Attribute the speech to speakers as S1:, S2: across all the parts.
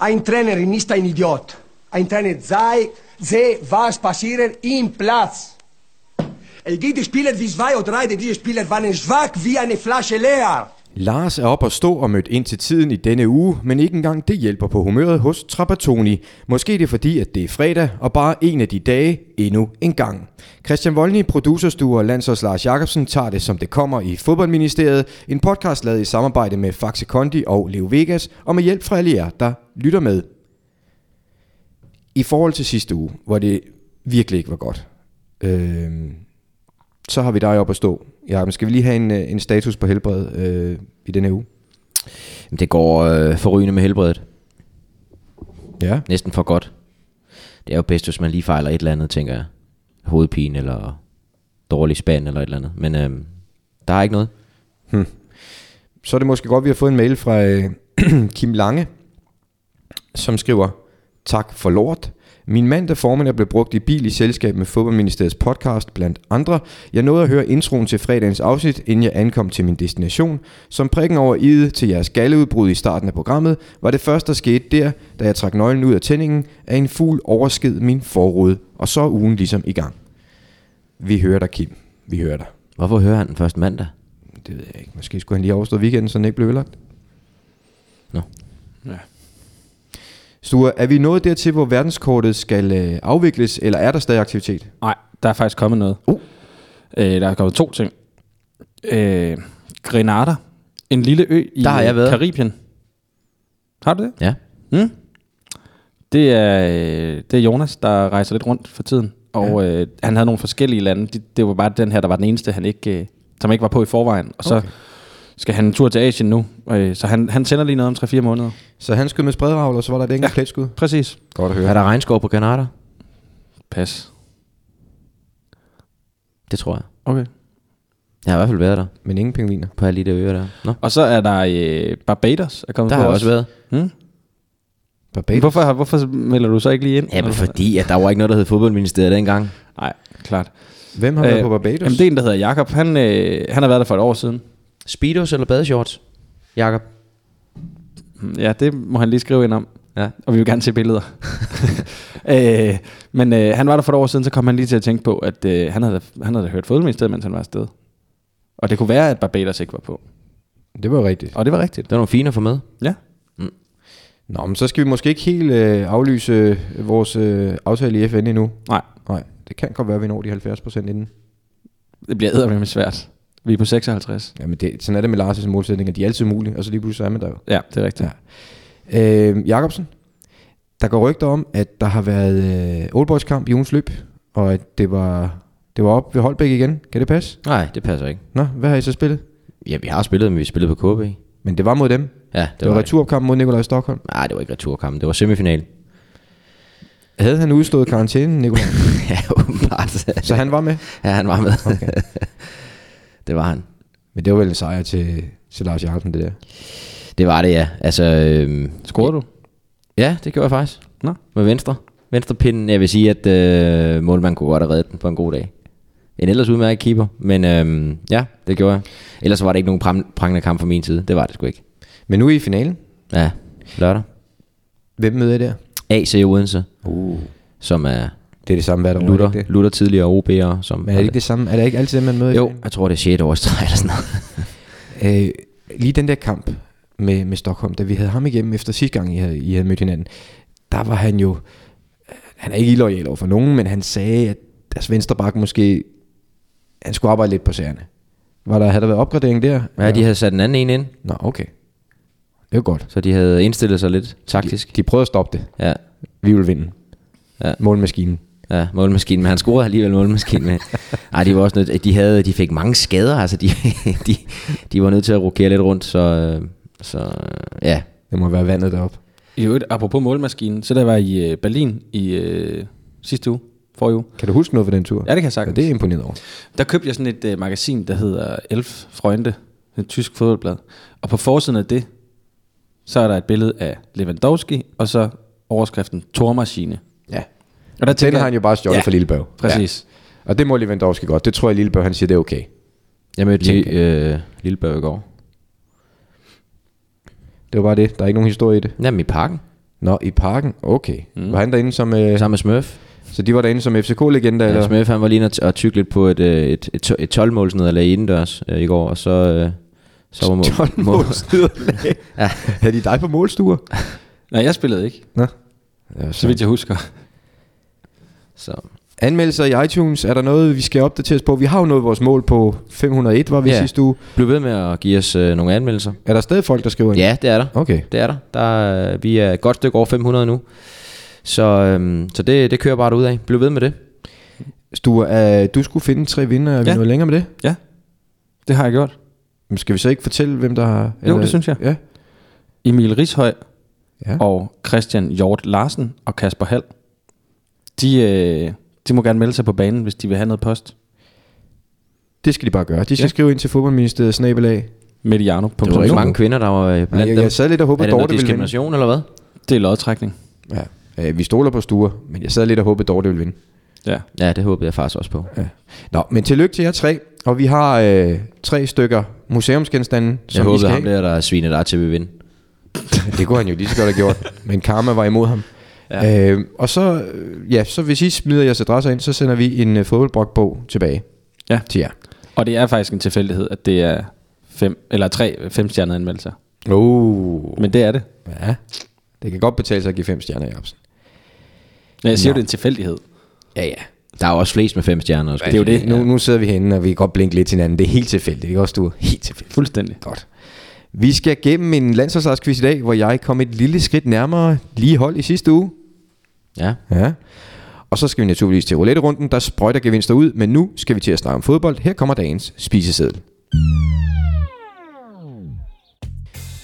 S1: Ein Trainer ist ein Idiot. Ein Trainer sei, sehe, was passiert im Platz. Es gibt Spieler wie zwei oder drei, diese Spieler waren schwach wie eine Flasche leer.
S2: Lars er op at stå og mødt ind til tiden i denne uge, men ikke engang det hjælper på humøret hos Trapattoni. Måske er det fordi, at det er fredag og bare en af de dage endnu en gang. Christian Voldny, producerstue og landsholds Lars Jacobsen tager det, som det kommer i Fodboldministeriet. En podcast lavet i samarbejde med Faxe Kondi og Leo Vegas og med hjælp fra alle jer, der lytter med. I forhold til sidste uge, hvor det virkelig ikke var godt, øh, så har vi dig op at stå. Ja, men skal vi lige have en, øh, en status på helbred øh, i denne her uge?
S3: Jamen, Det går øh, forrygende med helbredet.
S2: Ja.
S3: Næsten for godt. Det er jo bedst, hvis man lige fejler et eller andet, tænker jeg. Hovedpine eller dårlig spand eller et eller andet. Men øh, der er ikke noget.
S2: Så er det måske godt, at vi har fået en mail fra øh, Kim Lange, som skriver, tak for lort. Min mandag formiddag blev brugt i bil i selskab med Fodboldministeriets podcast blandt andre. Jeg nåede at høre introen til fredagens afsnit, inden jeg ankom til min destination. Som prikken over i'et til jeres galleudbrud i starten af programmet, var det første, der skete der, da jeg trak nøglen ud af tændingen, at en fugl oversked min forrude, og så er ugen ligesom i gang. Vi hører dig, Kim. Vi hører dig.
S3: Hvorfor hører han den første mandag?
S2: Det ved jeg ikke. Måske skulle han lige overstå weekenden, så den ikke blev ødelagt.
S3: Nå.
S2: Ja. Sture, er vi nået dertil, hvor verdenskortet skal øh, afvikles, eller er der stadig aktivitet?
S4: Nej, der er faktisk kommet noget.
S2: Uh.
S4: Øh, der er kommet to ting. Øh, Grenada, en lille ø i
S3: Der har jeg
S4: øh,
S3: været. Hmm?
S4: Karibien. Har du det?
S3: Ja.
S4: Mm. Det, er, øh, det er Jonas, der rejser lidt rundt for tiden. Og ja. øh, han havde nogle forskellige lande. Det, det var bare den her, der var den eneste, han ikke, øh, som ikke var på i forvejen. Og så okay. skal han en tur til Asien nu. Øh, så han, han sender lige noget om 3-4 måneder.
S2: Så han skød med spredravl, og så var der et enkelt ja. pletskud.
S4: Præcis.
S2: Godt at høre.
S3: Er der regnskov på Granada?
S4: Pas.
S3: Det tror jeg.
S4: Okay.
S3: Jeg har i hvert fald været der.
S2: Men ingen pingviner.
S3: På alle de der øer der. Nå.
S4: Og så er der øh, Barbados. Er kommet
S3: Der
S4: på
S3: har jeg også været.
S4: Mm?
S2: Barbados.
S4: Hvorfor, har- hvorfor melder du så ikke lige ind?
S3: Jamen fordi, at der var ikke noget, der hed fodboldministeriet dengang.
S4: Nej, klart.
S2: Hvem har været
S4: Øh,
S2: på Barbados?
S4: Jamen, det er en, der hedder Jakob. Han, øh, han har været der for et år siden.
S3: Speedos eller badeshorts? Jakob.
S4: Mm, Ja, det må han lige skrive ind om.
S3: Ja.
S4: Og vi vil gerne se billeder. øh, men øh, han var der for et år siden, så kom han lige til at tænke på, at øh, han, havde, han havde da hørt fodboldministeriet, mens han var afsted. Og det kunne være, at Barbados ikke var på.
S2: det var jo rigtigt.
S4: Og det var rigtigt.
S3: Det var nogle fine at få med.
S4: Ja.
S2: Nå, men så skal vi måske ikke helt øh, aflyse vores øh, aftale i FN endnu.
S4: Nej,
S2: Nej, det kan godt være, at vi når de 70 procent inden.
S4: det bliver eddermame svært. Vi er på 56.
S2: Jamen, det, sådan er det med Lars' målsætninger. De er altid mulige, og så lige pludselig er man der jo.
S4: Ja, det er rigtigt.
S2: Ja. Øh, Jakobsen, der går rygter om, at der har været øh, Old Boys kamp i ugens løb, og at det var, det var op ved Holbæk igen. Kan det passe?
S3: Nej, det passer ikke.
S2: Nå, hvad har I så spillet?
S3: Ja, vi har spillet, men vi spillede på KB.
S2: Men det var mod dem. Det,
S3: Ja, det,
S2: det var, var returopkampen mod Nikolaj Stockholm.
S3: Nej, det var ikke returkampen. Det var semifinalen.
S2: Havde han udstået karantænen, Nikolaj?
S3: ja, åbenbart.
S2: så han var med.
S3: ja, han var med. Okay. det var han.
S2: Men det var vel en sejr til, til Lars Jacobsen, det der.
S3: Det var det, ja. Altså, øhm,
S4: Scorede du?
S3: ja, det gjorde jeg faktisk.
S4: Nå.
S3: Med venstre. Venstrepinden. Jeg vil sige, at øh, målmanden kunne godt have reddet den på en god dag. En ellers udmærket keeper. Men øhm, ja, det gjorde jeg. Ellers var det ikke nogen pram- prangende kamp fra min side. Det var det sgu ikke.
S2: Men nu er I i finalen.
S3: Ja, lørdag.
S2: Hvem møder I der?
S3: AC Odense,
S2: Uh.
S3: som er
S2: Det er det samme hvert år, er det
S3: Luther,
S2: ikke det?
S3: Luther tidligere OB'er. Som
S2: Men er det ikke det samme? Er det ikke altid dem, man møder? i
S3: Jo,
S2: finalen?
S3: jeg tror, det er 6. års træ eller sådan noget.
S2: Øh, lige den der kamp med, med Stockholm, da vi havde ham igennem efter sidste gang, I havde, I havde mødt hinanden, der var han jo, øh, han er ikke illoyal over for nogen, men han sagde, at deres venstre bak måske, han skulle arbejde lidt på sagerne. Var der, havde der været opgradering der?
S3: Ja, de havde sat den anden en ind,
S2: Nå, okay. Det var godt.
S3: så de havde indstillet sig lidt taktisk.
S2: De prøvede at stoppe det.
S3: Ja,
S2: Vi ville vinde.
S3: Ja.
S2: Målmaskinen.
S3: ja målmaskinen, men han scorede alligevel målmaskinen. Men, ej, de var også nødt, de, havde, de fik mange skader, altså de, de, de var nødt til at rokere lidt rundt, så, øh, så øh, ja.
S2: Det må være vandet deroppe.
S4: I øvrigt, apropos målmaskinen, så der var i øh, Berlin i øh, sidste uge, forrige uge.
S2: Kan du huske noget fra den tur?
S4: Ja, det kan jeg sagtens.
S2: det er jeg imponeret over.
S4: Der købte jeg sådan et øh, magasin, der hedder Elf Freunde, et tysk fodboldblad. Og på forsiden af det, så er der et billede af Lewandowski, og så overskriften Tormaskine.
S2: Ja.
S4: Og der
S2: Den
S4: tænker
S2: har han jo bare stjålet ja.
S4: Ja,
S2: fra Lillebørg.
S4: Præcis. Ja.
S2: Ja. Og det må Lewandowski godt. Det tror jeg, Lillebørg han siger, det er okay.
S3: Jeg mødte lige, øh, Lillebørg i går.
S2: Det var bare det. Der er ikke nogen historie i det.
S3: Jamen i parken.
S2: Nå, i parken? Okay. Mm. Var han derinde som... Øh,
S3: Sammen med Smurf.
S2: så de var derinde som FCK-legender,
S3: Ja,
S2: eller?
S3: Smurf han var lige inde og tykke lidt på et, øh, et, et, et 12-målsnederlag indendørs øh, i går, og så... Øh, så var må,
S2: 12
S3: må-
S2: målsnederlag.
S3: Ja.
S2: Havde de dig på målstuer?
S4: Nej, jeg spillede ikke,
S2: Nå. Ja,
S4: så
S2: så.
S4: vidt jeg husker.
S3: Så,
S2: Anmeldelser i iTunes, er der noget, vi skal opdateres på? Vi har jo nået vores mål på 501, var vi
S3: Ja.
S2: ja. sidste uge.
S3: bliv ved med at give os øh, nogle anmeldelser.
S2: Er der stadig folk, der skriver ind?
S3: Ja, det er der.
S2: Okay.
S3: Det er der. der øh, vi er et godt stykke over 500 nu. Så, øhm, så det, det kører bare ud af. Bliv ved med det.
S2: Stue, øh, du skulle finde tre vinder. Er vi
S4: Ja.
S2: nået længere med det?
S4: Ja, det har jeg gjort.
S2: Men skal vi så ikke fortælle, hvem der har...
S4: Jo, det synes jeg.
S2: Ja.
S4: Emil Rishøj
S2: Ja.
S4: og Christian Hjort Larsen og Kasper Hall. De, øh, de må gerne melde sig på banen, hvis de vil have noget post.
S2: Det skal de bare gøre. De skal ja.
S4: Ja.
S2: skrive ind til fodboldministeriet snabelag.
S4: Mediano. Det,
S3: Der var ikke
S4: det,
S3: mange kvinder, der var øh, blandt
S2: Nej, jeg,
S3: dem.
S2: jeg sad lidt og
S3: er
S2: håbede,
S3: det noget
S2: Dorte ville vinde.
S3: diskrimination, eller hvad?
S4: det er lodtrækning.
S2: Ja. Øh, vi stoler på Sture, men jeg sad lidt og håbede, Dorte ville vinde.
S4: Ja.
S3: Ja, det håbede jeg faktisk også på.
S2: Ja. Nå, men tillykke til jer tre. Og vi har øh, tre stykker museumsgenstande,
S3: Jeg
S2: som I
S3: håbede
S2: skal
S3: ham
S2: have.
S3: der, der svinede dig til at vinde.
S2: Det kunne han jo lige så godt have gjort, men karma var imod ham. Ja. Øh, og så, øh, ja, så hvis I smider jeres adresser ind, så sender vi en øh, fodboldbrokbog tilbage
S4: Ja.
S2: til jer.
S4: Og det er faktisk en tilfældighed, at det er fem, eller tre femstjernede anmeldelser.
S2: Oh.
S4: Men det er det.
S2: Ja, det kan godt betale sig at give fem stjerner, Jacobsen.
S4: Men jeg siger
S2: Nå.
S4: jo, det er en tilfældighed.
S2: Ja, ja.
S3: Der er jo også flest med fem stjerner. Også.
S2: Det er jo det. Nu, nu sidder vi herinde, og vi kan godt blinke lidt til hinanden. Det er helt tilfældigt. Det er også du helt tilfældigt.
S4: Fuldstændig.
S2: Godt. Vi skal gennem en landsholdsquiz i dag, hvor jeg kom et lille skridt nærmere lige hold i sidste uge.
S3: Ja.
S2: Ja. Og så skal vi naturligvis til roulette-runden, der sprøjter gevinster ud, men nu skal vi til at snakke om fodbold. Her kommer dagens spiseseddel.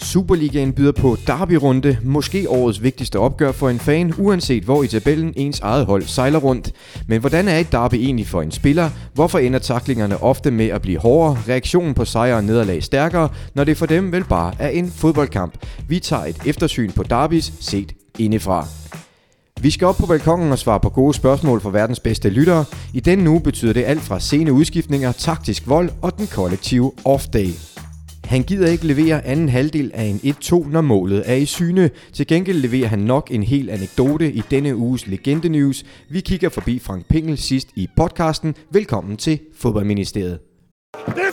S2: Superligaen byder på derby-runde, måske årets vigtigste opgør for en fan, uanset hvor i tabellen ens eget hold sejler rundt. Men hvordan er et derby egentlig for en spiller? Hvorfor ender taklingerne ofte med at blive hårdere, reaktionen på sejr og nederlag stærkere, når det for dem vel bare er en fodboldkamp? Vi tager et eftersyn på derbys set indefra. Vi skal op på balkongen og svare på gode spørgsmål fra verdens bedste lyttere. I denne uge betyder det alt fra sene udskiftninger, taktisk vold og den kollektive off-day. Han gider ikke levere anden halvdel af en 1-2, når målet er i syne. Til gengæld leverer han nok en hel anekdote i denne uges Legende News. Vi kigger forbi Frank Pingel sidst i podcasten. Velkommen til Fodboldministeriet.
S5: Hvordan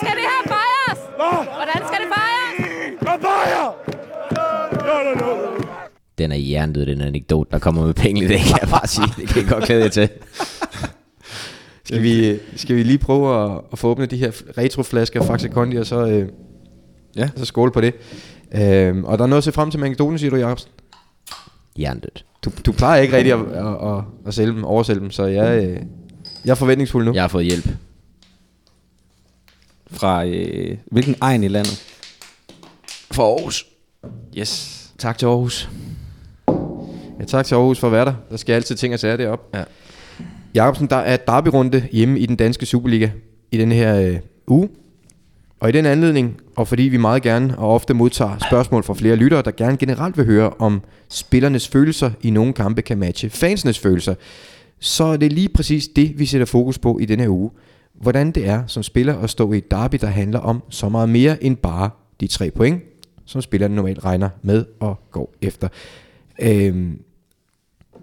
S5: skal det her fejres? Hvordan skal det fejres?
S3: Den er hjernedød, den anekdote, der kommer med penge i dag, kan jeg bare sige. Det kan jeg godt glæde jer til.
S2: Skal vi, skal vi lige prøve at, at få åbnet de her retroflasker Faxe Kondi, og så, øh,
S4: Ja.
S2: så skåle på det. Øhm, og der er noget at se frem til med anekdoten, siger du, Jacobsen?
S3: Hjernedødt.
S2: Du, du plejer ikke rigtig at, at, at, at sælge dem, oversælge dem, så jeg, øh, jeg er forventningsfuld nu.
S3: Jeg har fået hjælp.
S4: Fra øh, hvilken egen i landet?
S3: For Aarhus.
S4: Yes.
S3: Tak til Aarhus.
S2: Ja, tak til Aarhus for at være der. Der skal altid ting og sager deroppe. Ja. Jacobsen, der er derbyrunde hjemme i den danske Superliga i denne her øh, uge. Og i den anledning, og fordi vi meget gerne og ofte modtager spørgsmål fra flere lyttere, der gerne generelt vil høre om spillernes følelser i nogle kampe kan matche fansenes følelser, så er det lige præcis det, vi sætter fokus på i denne her uge. Hvordan det er som spiller at stå i et derby, der handler om så meget mere end bare de tre point, som spillerne normalt regner med og går efter. Øhm,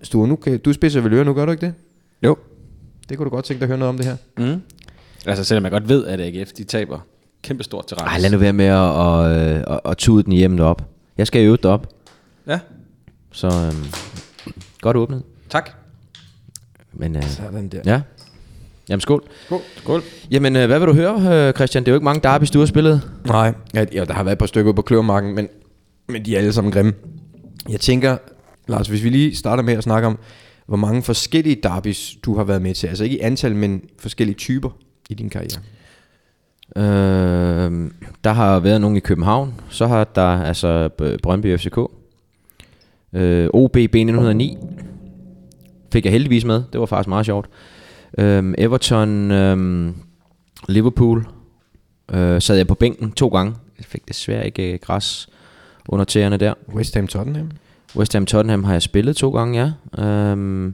S2: Sture, nu kan, du spidser vel ører nu, gør du ikke det?
S4: Jo.
S2: Det kunne du godt tænke dig at høre noget om det her.
S4: Mm. Altså selvom jeg godt ved, at AGF de taber kæmpestort til Randers.
S3: Ej, lad nu være med at, at, at, at, at tude den hjem derop. Jeg skal øve derop.
S4: Ja,
S3: Så øhm, godt åbnet.
S4: tak.
S3: Men, øh,
S2: Sådan der.
S3: ja. Jamen skål.
S4: Skål. Skål.
S3: Jamen, øh, hvad vil du høre, øh, Christian? Det er jo ikke mange derbys, du har spillet.
S2: Nej, ja, ja, der har været et par stykker ude på kløvermarken, men, men de er alle sammen grimme. Jeg tænker, Lars, hvis vi lige starter med at snakke om, hvor mange forskellige derbys du har været med til. Altså ikke i antal, men forskellige typer i din karriere.
S3: Øh, der har været nogen i København. Så har der altså B- Brøndby FCK. Øh, OB B1909. Fik jeg heldigvis med. Det var faktisk meget sjovt. Øh, Everton, øh, Liverpool. Øh, sad jeg på bænken to gange. Jeg fik desværre ikke øh, græs under tæerne der.
S2: West Ham Tottenham.
S3: West Ham Tottenham har jeg spillet to gange, ja. Øhm,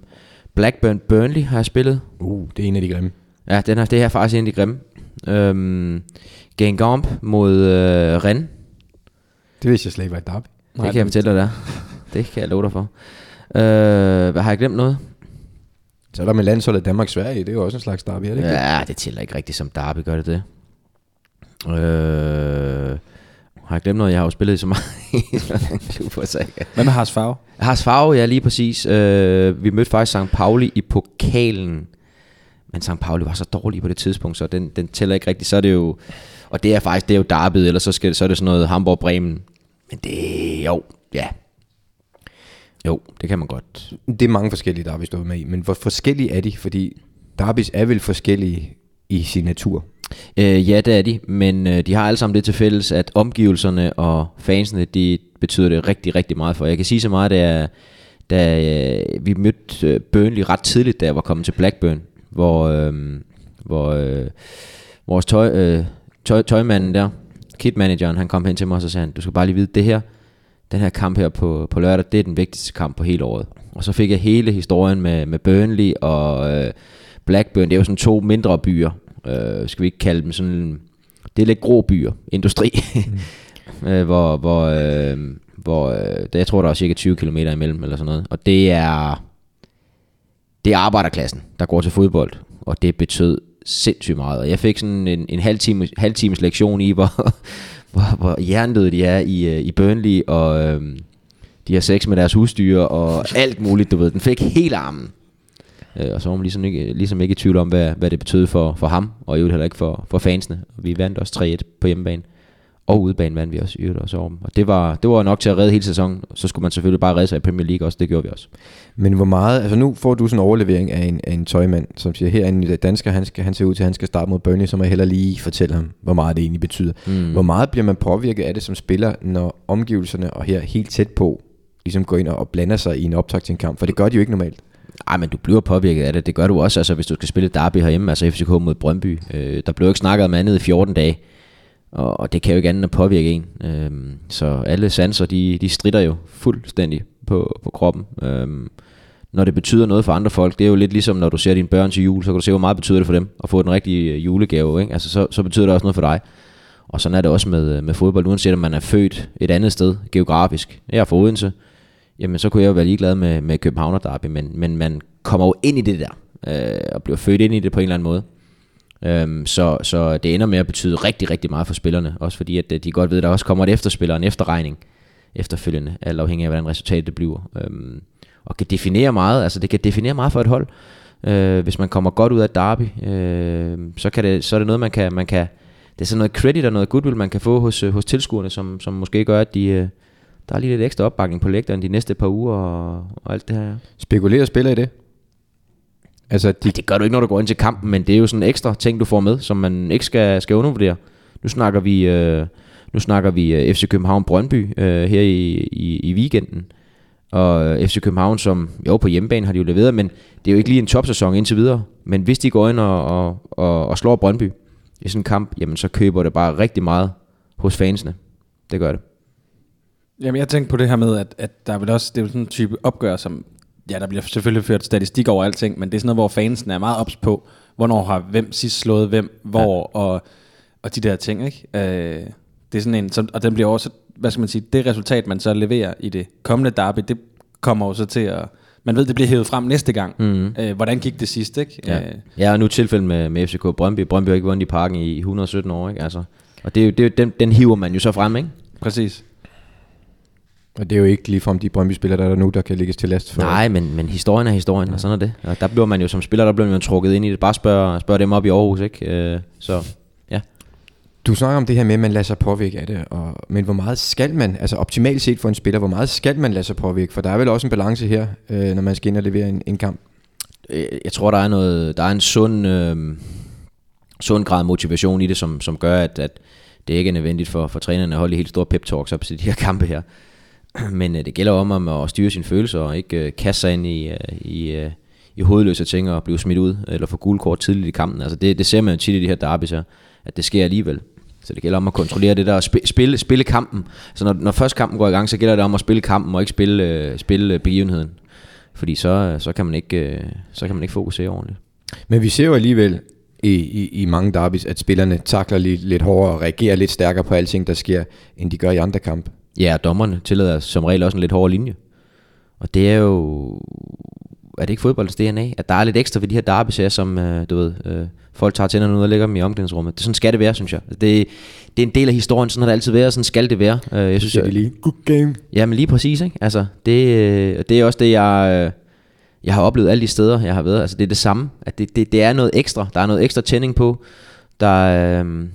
S3: Blackburn Burnley har jeg spillet.
S2: Uh, det er en af de grimme.
S3: Ja, den her, det her er faktisk en af de grimme. Øhm, Gengamp mod øh, Rennes.
S2: Det Det vidste jeg slet ikke var et derby.
S3: Det kan jeg fortælle dig, der. Det kan jeg love dig for. Øh, hvad har jeg glemt noget?
S2: Så er der med landsholdet Danmark-Sverige, det er jo også en slags derby, er det ikke? det?
S3: Ja, det tæller ikke rigtigt som derby, gør det det? Øh, har jeg glemt noget? Jeg har jo spillet i så meget i så lang klubber, så jeg kan-
S4: Hvad med Hars Farve?
S3: Hars Farve, ja lige præcis. Øh, vi mødte faktisk St. Pauli i pokalen. Men St. Pauli var så dårlig på det tidspunkt, så den, den tæller ikke rigtigt. Så er det jo... Og det er faktisk, det er jo derbyet, eller så, skal, så er det sådan noget Hamburg-Bremen. Men det... Jo, ja. Jo, det kan man godt.
S2: Det er mange forskellige derbys, du er med i, men hvor forskellige er de? Fordi derbys er vel forskellige i sin natur.
S3: Øh, ja, det er de, men øh, de har alle sammen det til fælles, at omgivelserne og fansene, de betyder det rigtig, rigtig meget for. Jeg kan sige så meget, da, da øh, vi mødte øh, Burnley ret tidligt, da jeg var kommet til Blackburn, hvor, øh, hvor øh, vores tøj, øh, tøj, tøjmanden der, kitmanageren, han kom hen til mig, og så sagde han, du skal bare lige vide, det her, den her kamp her på, på lørdag, det er den vigtigste kamp på hele året. Og så fik jeg hele historien med, med Burnley og øh, Blackburn. Det er jo sådan to mindre byer, øh, skal vi ikke kalde dem sådan... Det er lidt grå byer, industri, øh, hvor, hvor, øh, hvor øh, der, jeg tror, der er cirka 20 km imellem eller sådan noget. Og det er, det er arbejderklassen, der går til fodbold, og det betød sindssygt meget. Og jeg fik sådan en, en halv, time, halv times lektion i, hvor, hvor, hvor jerndøde de er i, øh, i Burnley, og øhm, de har sex med deres husdyr, og alt muligt, du ved. Den fik hele armen. Øh, og så var man ligesom ikke, ligesom ikke i tvivl om, hvad, hvad det betød for, for ham, og i øvrigt heller ikke for, for fansene. Vi vandt også 3-1 på hjemmebane, og udebane vandt vi også i øvrigt også over dem. Og det var, det var nok til at redde hele sæsonen. Så skulle man selvfølgelig bare redde sig i Premier League også, det gjorde vi også.
S2: Men hvor meget, altså nu får du sådan en overlevering af en, af en tøjmand, som siger, her er en dansker, han, skal, han ser ud til, at han skal starte mod Burnley, så må jeg hellere lige fortælle ham, hvor meget det egentlig betyder. Mm. Hvor meget bliver man påvirket af det som spiller, når omgivelserne og her helt tæt på, ligesom går ind og, og blander sig i en optag til en kamp, for det gør de jo ikke normalt.
S3: Ej, men du bliver påvirket af det. Det gør du også, altså, hvis du skal spille derby herhjemme, altså FCK mod Brøndby. Øh, der blev jo ikke snakket om andet i 14 dage, og, og det kan jo ikke andet end at påvirke en. Øh, så alle sanser, de, de strider jo fuldstændig på, på kroppen. Øh, når det betyder noget for andre folk, det er jo lidt ligesom, når du ser dine børn til jul, så kan du se, hvor meget betyder det for dem at få den rigtige øh, julegave. Ikke? Altså, så, så betyder det også noget for dig. Og sådan er det også med, med fodbold, uanset om man er født et andet sted geografisk. Jeg er fra Odense, jamen så kunne jeg jo være ligeglad med, med Københavner Derby, men, men man kommer jo ind i det der, øh, og bliver født ind i det på en eller anden måde. Øhm, så, så det ender med at betyde rigtig, rigtig meget for spillerne, også fordi at øh, de godt ved, at der også kommer et efterspiller, og en efterregning efterfølgende, alt afhængig af, hvordan resultatet det bliver. Øhm, og kan definere meget, altså det kan definere meget for et hold. Øh, hvis man kommer godt ud af et derby, øh, så, kan det, så er det noget, man kan, man kan, det er sådan noget credit og noget goodwill, man kan få hos, øh, hos tilskuerne, som, som måske gør, at de, øh, der er lige lidt ekstra opbakning på lægteren de næste par uger og, og alt det her. Ja.
S2: Spekulerer spiller i det? Altså, de,
S3: Ja, det gør du ikke, når du går ind til kampen, men det er jo sådan en ekstra ting, du får med, som man ikke skal, skal undervurdere. Nu snakker vi, øh, nu snakker vi øh, FC København-Brøndby øh, her i, i, i weekenden. Og øh, FC København, som jo på hjemmebane har de jo leveret, men det er jo ikke lige en topsæson indtil videre. Men hvis de går ind og, og, og, og slår Brøndby i sådan en kamp, jamen så køber det bare rigtig meget hos fansene. Det gør det.
S4: Jamen, jeg tænkte på det her med, at, at der er vel også, det er jo sådan en type opgør, som, ja, der bliver selvfølgelig ført statistik over alting, men det er sådan noget, hvor fansen er meget ops på, hvornår har hvem sidst slået hvem, hvor, ja. og, og de der ting, ikke? Øh, det er sådan en, som, og den bliver også, hvad skal man sige, det resultat, man så leverer i det kommende derby, det kommer jo så til at, man ved, det bliver hævet frem næste gang. Mm. Øh, hvordan gik det sidst, ikke?
S3: Ja,
S4: Øh,
S3: ja og nu tilfældet med, med FCK Brøndby. Brøndby har ikke vundet i parken i 117 år, ikke? Altså, og det er jo, det er jo, den, den hiver man jo så frem, ikke?
S4: præcis.
S2: og det er jo ikke ligefrem de Brøndby-spillere, der er der nu, der kan lægges til last for.
S3: Nej, men, men historien er historien, og sådan er det. Og der bliver man jo som spiller, der bliver man jo trukket ind i det. Bare spørg, spørg dem op i Aarhus, ikke? Øh, så ja.
S2: Du snakker om det her med, at man lader sig påvirke af det, og, men hvor meget skal man, altså optimalt set for en spiller, hvor meget skal man lade sig påvirke? For der er vel også en balance her, øh, når man skal ind og levere en, en kamp.
S3: Øh, Jeg tror, der er, noget, der er en sund, øh, sund grad af motivation i det, som, som gør, at, at det ikke er nødvendigt for, for trænerne at holde de helt store pep-talks op til de her kampe her. Men øh, det gælder om, om at styre sine følelser og ikke øh, kaste sig ind i, øh, i, øh, i hovedløse ting og blive smidt ud eller få gule kort tidligt i kampen. Altså det, det ser man jo tit i de her derbys her, at det sker alligevel. Så det gælder om at kontrollere det der og sp- spille, spille kampen. Så når, når først kampen går i gang, så gælder det om at spille kampen og ikke spille, øh, spille øh, begivenheden. Fordi så, øh, så, kan man ikke, øh, så kan man ikke fokusere ordentligt.
S2: Men vi ser jo alligevel i, i, i mange derbys, at spillerne takler lidt, lidt hårdere og reagerer lidt stærkere på alting, der sker, end de gør i andre kampe.
S3: Ja, og dommerne tillader som regel også en lidt hård linje. Og det er jo... Er det ikke fodboldens DNA? At der er lidt ekstra ved de her derbysager, som øh, du ved, øh, folk tager tænderne ud og lægger dem i omklædningsrummet. Det, sådan skal det være, synes jeg. Altså, Det, det er en del af historien, sådan har det altid været, og sådan skal det være. Øh, jeg synes,
S2: Det er lige. Good game.
S3: Ja, men lige præcis, ikke? Altså, det, øh, det er også det, jeg, øh, jeg har oplevet alle de steder, jeg har været. Altså, det er det samme. At det, det, det er noget ekstra. Der er noget ekstra tænding på. Der er, øh,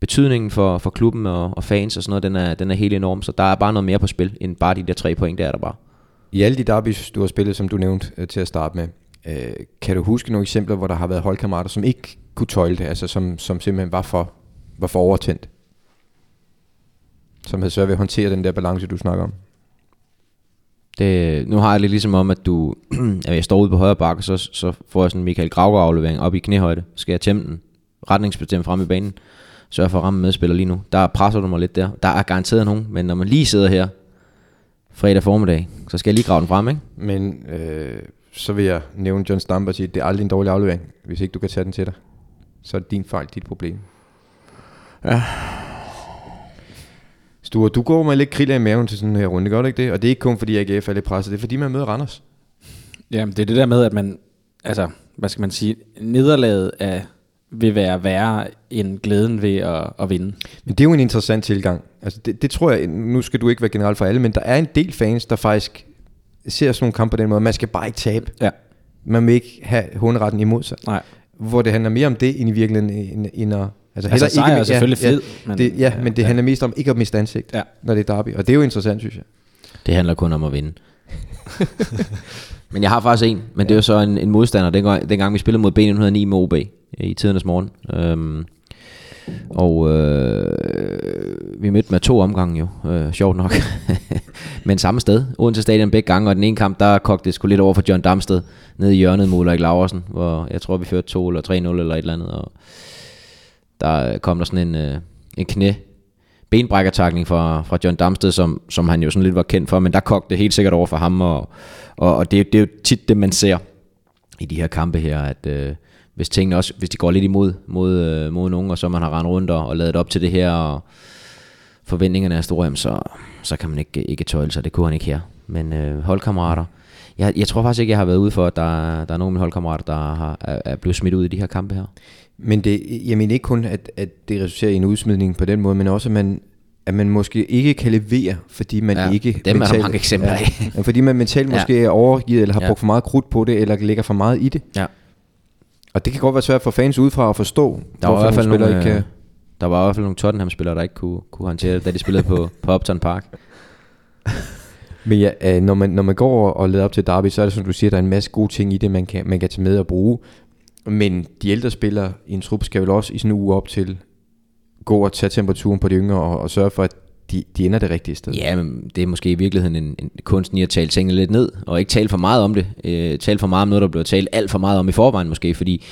S3: betydningen for, for klubben og, og fans og sådan noget, den er, den er helt enorm. Så der er bare noget mere på spil, end bare de der tre point, der er der bare.
S2: I alle de derbys, du har spillet, som du nævnte øh, til at starte med, øh, kan du huske nogle eksempler, hvor der har været holdkammerater, som ikke kunne tøjle det, altså som, som simpelthen var for, var for overtændt? Som havde svært ved at håndtere den der balance, du snakker om.
S3: Det, nu har jeg det ligesom om, at du, at jeg står ude på højre bakke, og så, så får jeg sådan en Michael Gravgaard aflevering op i knæhøjde. Så skal jeg tæmme den, retningsbestemt frem i banen, sørg for at ramme medspiller lige nu. Der presser du mig lidt der. Der er garanteret nogen, men når man lige sidder her fredag formiddag, så skal jeg lige grave den frem, ikke?
S2: Men øh, så vil jeg nævne John Stamper og sige, det er aldrig en dårlig aflevering, hvis ikke du kan tage den til dig. Så er det din fejl, dit problem. Ja. Sture, du går med lidt kriller i maven til sådan her runde, gør du ikke det? Og det er ikke kun fordi AGF er lidt presset, det er fordi man møder Randers.
S4: Jamen, det er det der med, at man, altså, hvad skal man sige, nederlaget af, vil være værre end glæden ved at, at vinde.
S2: Men det er jo en interessant tilgang. Altså det, det tror jeg, nu skal du ikke være generelt for alle, men der er en del fans, der faktisk ser sådan nogle kampe på den måde. Man skal bare ikke tabe.
S4: Ja.
S2: Man vil ikke have hunderetten imod sig.
S4: Nej.
S2: Hvor det handler mere om det, end i virkeligheden, end, end at... Altså,
S4: Altså, sejr er
S2: men-
S4: selvfølgelig
S2: ja,
S4: fed,
S2: ja,
S4: men-
S2: men, det, ja, men det
S4: ja.
S2: handler mest om ikke at miste ansigt,
S4: Ja.
S2: når det er derby. Og det er jo interessant, synes jeg.
S3: Det handler kun om at vinde. men jeg har faktisk en, men det var så en, en modstander, dengang, dengang vi spillede mod B909 med OB i tidernes morgen. Øhm, og øh, vi mødte med to omgange jo, øh, sjovt nok. men samme sted, Odense Stadion begge gange, og den ene kamp, der kogte det sgu lidt over for John Damsted, nede i hjørnet mod Ulrik Laversen, hvor jeg tror, vi førte 2 eller 3-0 eller et eller andet, og der øh, kom der sådan en, øh, en knæ benbrækkertakning fra, fra John Damsted, som, som han jo sådan lidt var kendt for, men der kogte det helt sikkert over for ham, og, og, og det, er- det er jo tit det, man ser i de her kampe her, at øh, hvis tingene også, hvis de går lidt imod mod, øh, mod nogen, og så man har rendt rundt og, og lavet op til det her, og forventningerne er store, jamen så, så kan man ikke, ikke tøjle sig, det kunne han ikke her. Men øh, holdkammerater, jeg, jeg tror faktisk ikke, jeg har været ude for, at der, der er nogen af mine holdkammerater, der har, er, er blevet smidt ud i de her kampe her.
S2: Men det, jeg mener ikke kun, at, at det resulterer i en udsmidning på den måde, men også, at man, at man måske ikke kan levere, fordi man
S3: Ja,
S2: ikke...
S3: dem er der mange eksempler
S2: ja,
S3: af.
S2: ja, Øh, fordi man mentalt
S3: Ja.
S2: måske er overgivet, eller har
S3: Ja.
S2: brugt for meget krudt på det, eller lægger for meget i det.
S3: Ja.
S2: Og det kan godt være svært for fans udefra at forstå,
S3: Der var, i hvert fald
S2: nogle
S3: nogle,
S2: spillere ikke
S3: øh,
S2: kan...
S3: der var i hvert fald nogle Tottenham-spillere, der ikke kunne, kunne håndtere det, da de spillede på, på Upton Park.
S2: Men ja, øh, når, man, når man går og- og leder op til derby, så er det som du siger, der er en masse gode ting i det, man kan, man kan tage med og bruge. Men de ældre spillere i en trup skal vel også i sådan en uge op til gå og tage temperaturen på de yngre og, og sørge for, at de, de ender det rigtige sted.
S3: Ja, men det er måske i virkeligheden en, en kunsten i at tale tingene lidt ned, og ikke tale for meget om det. Øh, tale for meget om noget, der bliver talt alt for meget om i forvejen måske, fordi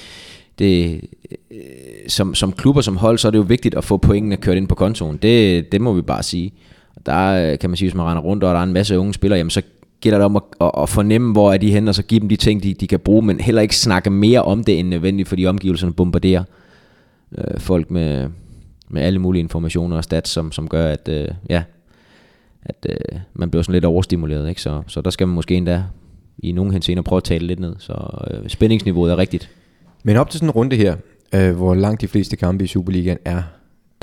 S3: det, øh, som, som klub og som hold, så er det jo vigtigt at få pointene kørt ind på kontoen. Det, det må vi bare sige. Der øh, kan man sige, hvis man render rundt, og der er en masse unge spillere, jamen så gælder det om at, at, at fornemme, hvor er de henne, og så give dem de ting, de, de kan bruge, men heller ikke snakke mere om det end nødvendigt, fordi omgivelserne bombarderer øh, folk med, med alle mulige informationer og stats, som, som gør, at øh, ja, at øh, man bliver sådan lidt overstimuleret, ikke? Så, så der skal man måske endda i nogle henseender prøve at tale lidt ned, så øh, spændingsniveauet er rigtigt.
S2: Men op til sådan en runde her, øh, hvor langt de fleste kampe i Superligaen er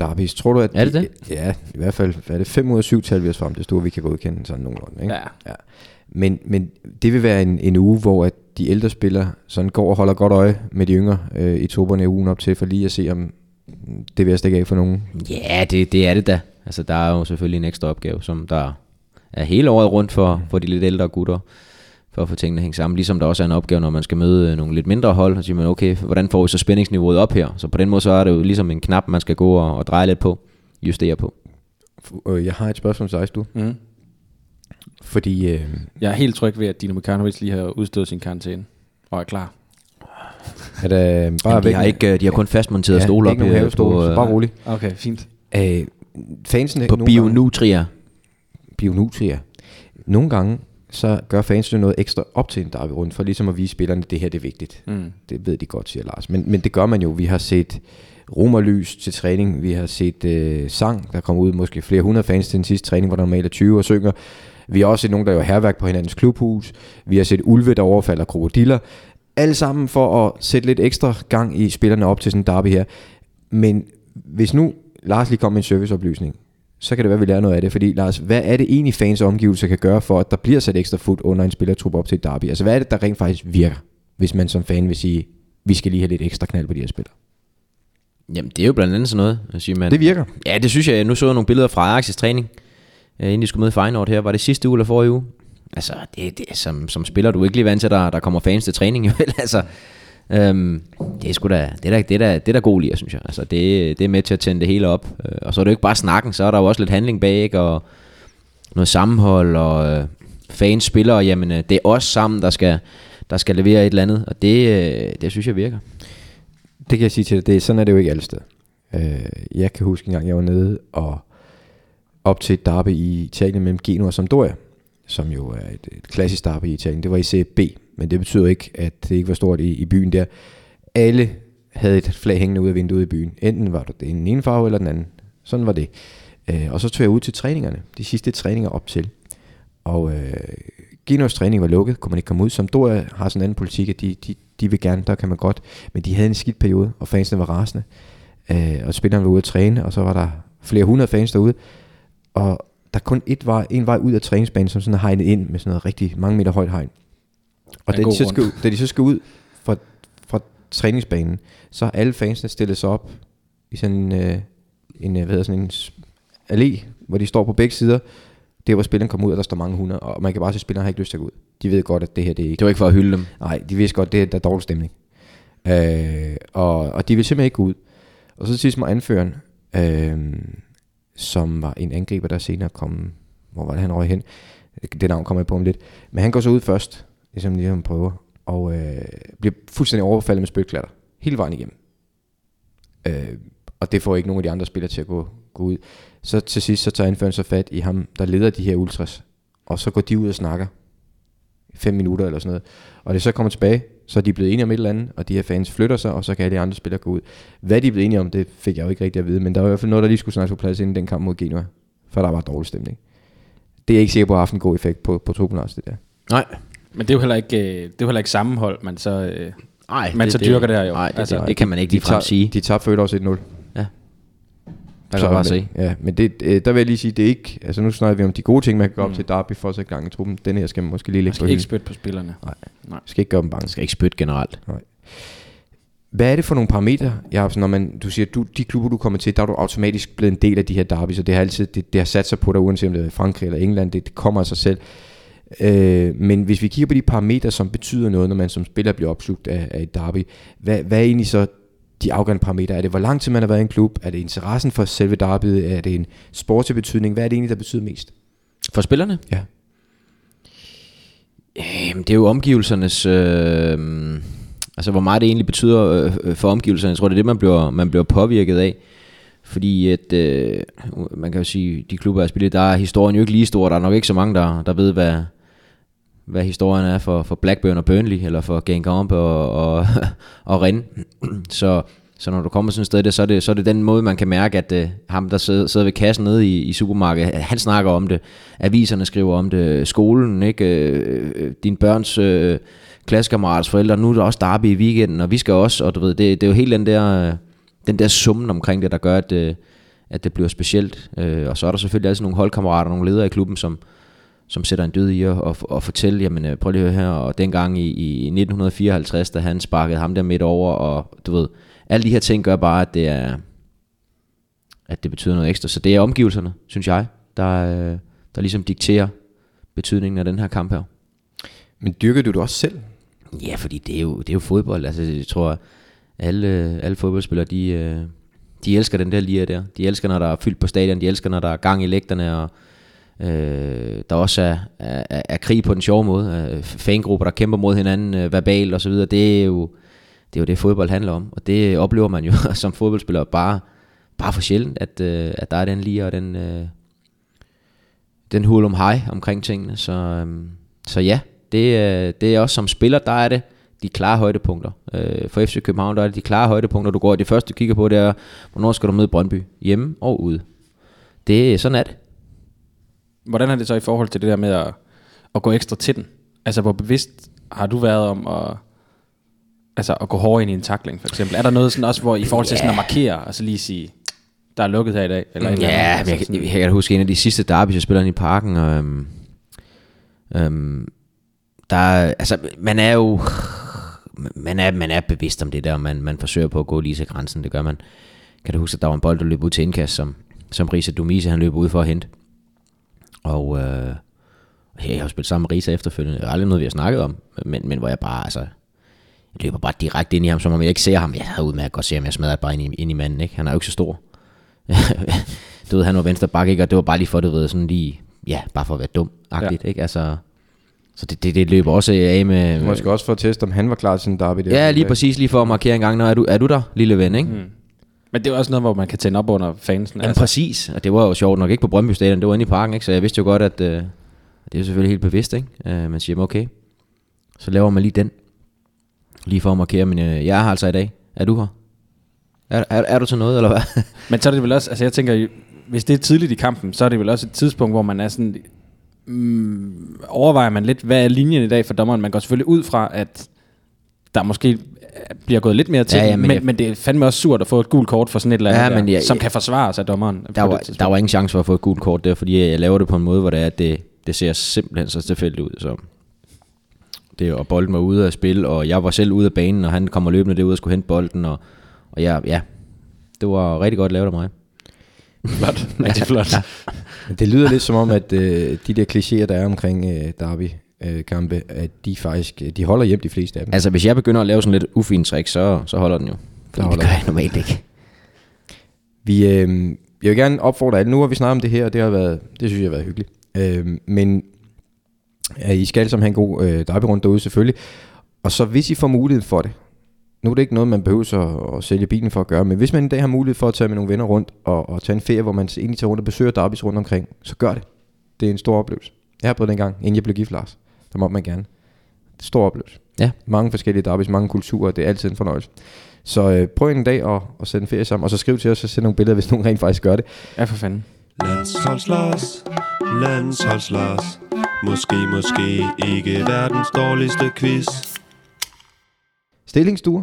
S2: derbys, tror du, at...
S3: Er det
S2: de-
S3: det?
S2: Ja, i hvert fald er det 5 ud af 7 tal, vi har frem. Det store, vi kan godkende sådan nogenlunde. Ikke?
S4: Ja.
S2: ja. Men, men det vil være en, en uge, hvor at de ældre spillere sådan går og holder godt øje med de yngre øh, i trupperne i ugen op til, for lige at se, om det vil jeg stikke af for nogen.
S3: Ja, det, det er det da. Altså, der er jo selvfølgelig en ekstra opgave, som der er hele året rundt for, for de lidt ældre gutter, for at få tingene hængt sammen. Ligesom der også er en opgave, når man skal møde øh, nogle lidt mindre hold, så siger man, okay, hvordan får vi så spændingsniveauet op her? Så på den måde, så er det jo ligesom en knap, man skal gå og, og dreje lidt på, justere på.
S2: F- øh, Jeg har et spørgsmål til dig, du.
S4: Mm.
S2: Fordi øh,
S4: Jeg er helt tryg ved, at Dino Mekanovic lige har udstået sin karantæne og er klar.
S2: er der bare
S3: Jamen, de,
S2: væk-
S3: har ikke, øh, de har kun fastmonteret
S2: ja,
S3: stole op
S2: ikke nogen
S3: øh,
S2: havestole,
S3: på,
S2: så
S3: øh,
S2: bare rolig.
S4: Okay, fint.
S2: Øh, fansene
S3: på
S2: nogle gange-
S3: Bionutria.
S2: Bionutria. Nogle gange, så gør fansene noget ekstra op til en derbyrunde, for ligesom at vise spillerne, at det her det er vigtigt. Mm. Det ved de godt, siger Lars. Men, men det gør man jo. Vi har set romerlys til træning, vi har set øh, sang, der kommer ud måske flere hundrede fans til den sidste træning, hvor der normalt er 20 og synger. Vi har også set nogen, der jo herværk på hinandens klubhus. Vi har set ulve, der overfalder krokodiller. Alle sammen for at sætte lidt ekstra gang i spillerne op til sådan en derby her. Men hvis nu Lars lige kom med en serviceoplysning, så kan det være, at vi lærer noget af det. Fordi Lars, hvad er det egentlig fans omgivelser kan gøre for, at der bliver sat ekstra fod under en spillertrup op til et derby? Altså hvad er det, der rent faktisk virker, hvis man som fan vil sige, vi skal lige have lidt ekstra knald på de her spillere?
S3: Jamen, det er jo blandt andet sådan noget, siger man.
S2: Det virker.
S3: Ja, det synes jeg. Nu så jeg nogle billeder fra Ajax' træning, øh, inden de skulle møde Feyenoord her. Var det sidste uge eller forrige uge? Altså, det, det er som, som spiller, du er ikke lige vant til, at der, der kommer fans til træning. Jo, vel? altså, øhm, det er sgu da, det er da, det er da, det er da god lir, synes jeg. Altså, det, det er med til at tænde det hele op. Øh, Og så er det jo ikke bare snakken, så er der jo også lidt handling bag, ikke? og noget sammenhold, og øh, fans spiller, og jamen, øh, det er os sammen, der skal, der skal levere et eller andet, og det, øh, det synes jeg virker.
S2: Det kan jeg sige til dig, det, er- sådan er det jo ikke alle steder. Øh, jeg kan huske en gang, jeg var nede og op til et derby i Italien mellem Genoa og Sampdoria, som jo er et, et klassisk derby i Italien. Det var i Serie B, men det betyder ikke, at det ikke var stort i, i byen der. Alle havde et flag hængende ud af vinduet i byen. Enten var det den ene farve eller den anden. Sådan var det. Øh, og så tog jeg ud til træningerne, de sidste træninger op til. Og øh, Genos træning var lukket, kunne man ikke komme ud. Sampdoria har sådan en anden politik, at de, de, de vil gerne, der kan man godt. Men de havde en skidt periode, og fansene var rasende. Øh, og spillerne var ude at træne, og så var der flere hundrede fans derude. Og der er kun et vej, en vej ud af træningsbanen, som sådan er hegnet ind med sådan noget rigtig mange meter højt hegn. Og
S4: En
S2: da
S4: god
S2: de, så skal,
S4: grund.
S2: ud- da de så skal ud fra, fra træningsbanen, så har alle fansene stillet sig op i sådan en, øh, en, øh, hvad hedder sådan en s- allé, hvor de står på begge sider. Det er, hvor spilleren kommer ud, og der står mange hundrede, og man kan bare se, at spilleren har ikke lyst til at gå ud. De ved godt, at det her det er ikke...
S3: Det var ikke for at hylde dem.
S2: Nej, de vidste godt, det er, der er dårlig stemning. Øh, og, og de ville simpelthen ikke gå ud. Og så til sidst må anføreren, øh, som var en angriber, der senere kom... Hvor var det, han røg hen? Det navn kommer jeg på om lidt. Men han går så ud først, ligesom lige han prøver, og øh, bliver fuldstændig overfaldet med spytklatter. Hele vejen igennem. Øh, og det får ikke nogen af de andre spillere til at gå, gå ud. Så til sidst, så tager anføreren så fat i ham, der leder de her ultras. Og så går de ud og snakker. 5 minutter eller sådan noget. Og det så kommer tilbage, så er de blevet enige om et eller andet, og de her fans flytter sig, og så kan alle de andre spillere gå ud. Hvad de er blevet enige om, det fik jeg jo ikke rigtig at vide, men der var i hvert fald noget, der lige skulle snakkes på plads inden den kamp mod Genua, for der var dårlig stemning. Det er jeg ikke sikker på har haft en god effekt på, på truppen også, det der.
S3: Nej,
S4: Men det er jo heller ikke, øh, det er jo heller ikke sammenhold, man så... Øh,
S3: Nej,
S4: Men så dyrker det her jo.
S3: Nej, det,
S4: Altså,
S3: det, det, kan man ikke ligefrem sige.
S2: De tabte for øvrigt også 1-0.
S3: Ja.
S2: Der
S3: Så
S2: kan
S3: bare
S2: man-
S3: se.
S2: Ja, men det, øh, der vil jeg lige sige, det er ikke, altså nu snakker vi om de gode ting, man kan gå op mm. til Derby for at sætte gang i truppen. Den her skal man måske lige
S4: man
S2: lægge på
S4: skal ikke
S2: hylden.
S4: spytte på spillerne.
S2: Skal ikke gøre dem bange.
S3: Man skal ikke spytte generelt.
S2: Hvad er det for nogle parametre, Jacobsen, når man, du siger, du, de klubber, du kommer til, der er du automatisk blevet en del af de her derby, så det har altid, det, det har sat sig på dig, uanset om det er i Frankrig eller England, det, det kommer af sig selv. Øh, men hvis vi kigger på de parametre, som betyder noget, når man som spiller bliver opslugt af, af et derby, hvad, hvad er egentlig så de afgørende parametre? Er det, hvor lang tid man har været i en klub? Er det interessen for selve derbyet? Er det en sportslig betydning? Hvad er det egentlig, der betyder mest?
S3: For spillerne?
S2: Ja.
S3: Jamen, det er jo omgivelsernes... Øh, altså, hvor meget det egentlig betyder øh, øh, for omgivelserne. Jeg tror, det er det, man bliver, man bliver påvirket af. Fordi at, øh, man kan jo sige, de klubber, jeg spiller, i, der er historien jo ikke lige stor. Der er nok ikke så mange, der, der ved, hvad, hvad historien er for, for Blackburn og Burnley, eller for Gengamp og, og, og Rennes. Så, så når du kommer sådan et sted, der, så, er det, så er det den måde, man kan mærke, at øh, ham, der sidder, sidder ved kassen nede i, i supermarkedet, han snakker om det, aviserne skriver om det, skolen, ikke? Øh, øh, din børns øh, klassekammerats forældre, nu er der også derby i weekenden, og vi skal også, og du ved, det, det er jo hele den der, øh, den der summen omkring det, der gør, at, øh, at det bliver specielt. Øh, og så er der selvfølgelig altid nogle holdkammerater, nogle ledere i klubben, som, som sætter en død i og, og, og fortælle, jamen øh, prøv lige at høre her, og dengang i, i 1954, da han sparkede ham der midt over, og du ved, alle de her ting gør bare, at det er, at det betyder noget ekstra. Så det er omgivelserne, synes jeg, der, øh, der ligesom dikterer betydningen af den her kamp her.
S2: Men dyrker du det også selv?
S3: Ja, fordi det er jo, det er jo fodbold. Altså, jeg tror, alle, alle fodboldspillere, de, øh, de elsker den der lige der. De elsker, når der er fyldt på stadion. De elsker, når der er gang i lægterne, og øh, der også er, er, er, er krig på den sjove måde. Øh, fangrupper, der kæmper mod hinanden øh, verbalt og så videre. Det er jo det, er jo det fodbold handler om. Og det oplever man jo som fodboldspiller bare, bare for sjældent, at, øh, at der er den lige og den... Øh, den hul om hej omkring tingene, så, øhm, Så ja, det, øh, det er også som spiller, der er det de klare højdepunkter. Øh, for FC København, der er det de klare højdepunkter, du går. Det første, du kigger på, det er, hvornår skal du møde Brøndby? Hjemme og ude. Det, sådan er det.
S4: Hvordan er det så i forhold til det der med at, at gå ekstra til den? Altså, hvor bevidst har du været om at, altså, at gå hårdere ind i en takling, for eksempel? Er der noget sådan også, hvor i forhold til sådan at markere, og så lige sige, der er lukket her i dag? Eller et eller andet?
S3: Ja, men
S4: altså,
S3: jeg, kan-
S4: sådan-
S3: jeg, jeg kan huske en af de sidste derbys, jeg spillede inde i parken. Og, øhm, øhm, der, er- altså, man er jo man er, man er bevidst om det der, og man, man forsøger på at gå lige til grænsen, det gør man. Kan du huske, at der var en bold, der løb ud til indkast, som, som Risa Dumise, han løb ud for at hente. Og øh, ja, jeg har jo spillet sammen med Risa efterfølgende, det er aldrig noget, vi har snakket om, men, men hvor jeg bare, altså, jeg løber bare direkte ind i ham, som om jeg ikke ser ham. Jeg havde udmærket godt se ham, jeg smadrede bare ind i, ind i manden, ikke? Han er jo ikke så stor. du ved, han var venstre bakke, ikke? Og det var bare lige for, du ved, sådan lige, ja, bare for at være dum-agtigt, ja. ikke? Altså, så det, det, det løber også af med...
S2: Måske også for at teste, om han var klar til en derby. der.
S3: Ja, lige præcis, lige for at markere en gang, når er du, er du der, lille ven, ikke? Mm. Jamen
S4: Men det er jo også noget, hvor man kan tænde op under fansen.
S3: altså. præcis, og det var jo sjovt nok ikke på Brøndby Stadion, det var inde i parken, ikke? Så jeg vidste jo godt, at øh, det er jo selvfølgelig helt bevidst, ikke? Øh, man siger, "Men okay, så laver man lige den, lige for at markere, men øh, jeg er her altså i dag, er du her? Er, er, er du til noget, eller hvad?
S4: Men så er det vel også, altså jeg tænker, hvis det er tidligt i kampen, så er det vel også et tidspunkt, hvor man er sådan, mm, overvejer man lidt, hvad er linjen i dag for dommeren? Man går selvfølgelig ud fra, at der måske øh, bliver gået lidt mere til,
S3: Ja,
S4: ja,
S3: ja,
S4: ja,
S3: men
S4: men, men,
S3: jeg-
S4: men det er fandme også surt at få et gult kort for sådan et eller
S3: Ja,
S4: andet, ja,
S3: men
S4: der,
S3: jeg-
S4: som kan forsvares af dommeren.
S3: der,
S4: på
S3: var,
S4: det tidspunkt.
S3: der var ingen chance for at få et gult kort der, fordi øh, jeg laver det på en måde, hvor det, er, at det, det ser simpelthen så tilfældigt ud. Så det og bolden var ude af spil, og jeg var selv ude af banen, og han kommer løbende derude og skulle hente bolden, og, og jeg, ja, det var rigtig godt lavet af mig.
S4: flot. Rigtig flot. Ja,
S2: Men Det lyder lidt som om, at øh, de der klichéer, der er omkring øh, derby-kampe, at de faktisk øh, de holder hjem de fleste af dem.
S3: Altså, hvis jeg begynder at lave sådan lidt ufin trick, så, så holder den jo. Fordi
S2: holder
S3: det gør
S2: den.
S3: jeg normalt ikke.
S2: Vi, øh, jeg vil gerne opfordre alle, nu har vi snakket om det her, og det, har været, det synes jeg har været hyggeligt. Øh, men ja, I skal som have en god øh, derbyrunde derude selvfølgelig. Og så hvis I får mulighed for det, nu er det ikke noget, man behøver så at sælge bilen for at gøre, men hvis man en dag har mulighed for at tage med nogle venner rundt og, og tage en ferie, hvor man egentlig tager rundt og besøger derbys rundt omkring, så gør det. Det er en stor oplevelse. Jeg har prøvet det engang, inden jeg blev gift, Lars. Der måtte man gerne. Stor oplevelse.
S3: Ja.
S2: Mange forskellige derbys, mange kulturer, det er altid en fornøjelse. Så øh, prøv en dag at, at sætte en ferie sammen, og så skriv til os og send nogle billeder, hvis nogen rent faktisk gør det.
S4: ja for fanden.
S6: Landsholdslars, landsholdslars Måske, måske ikke verdens dårligste quiz
S2: Stillingsstuer,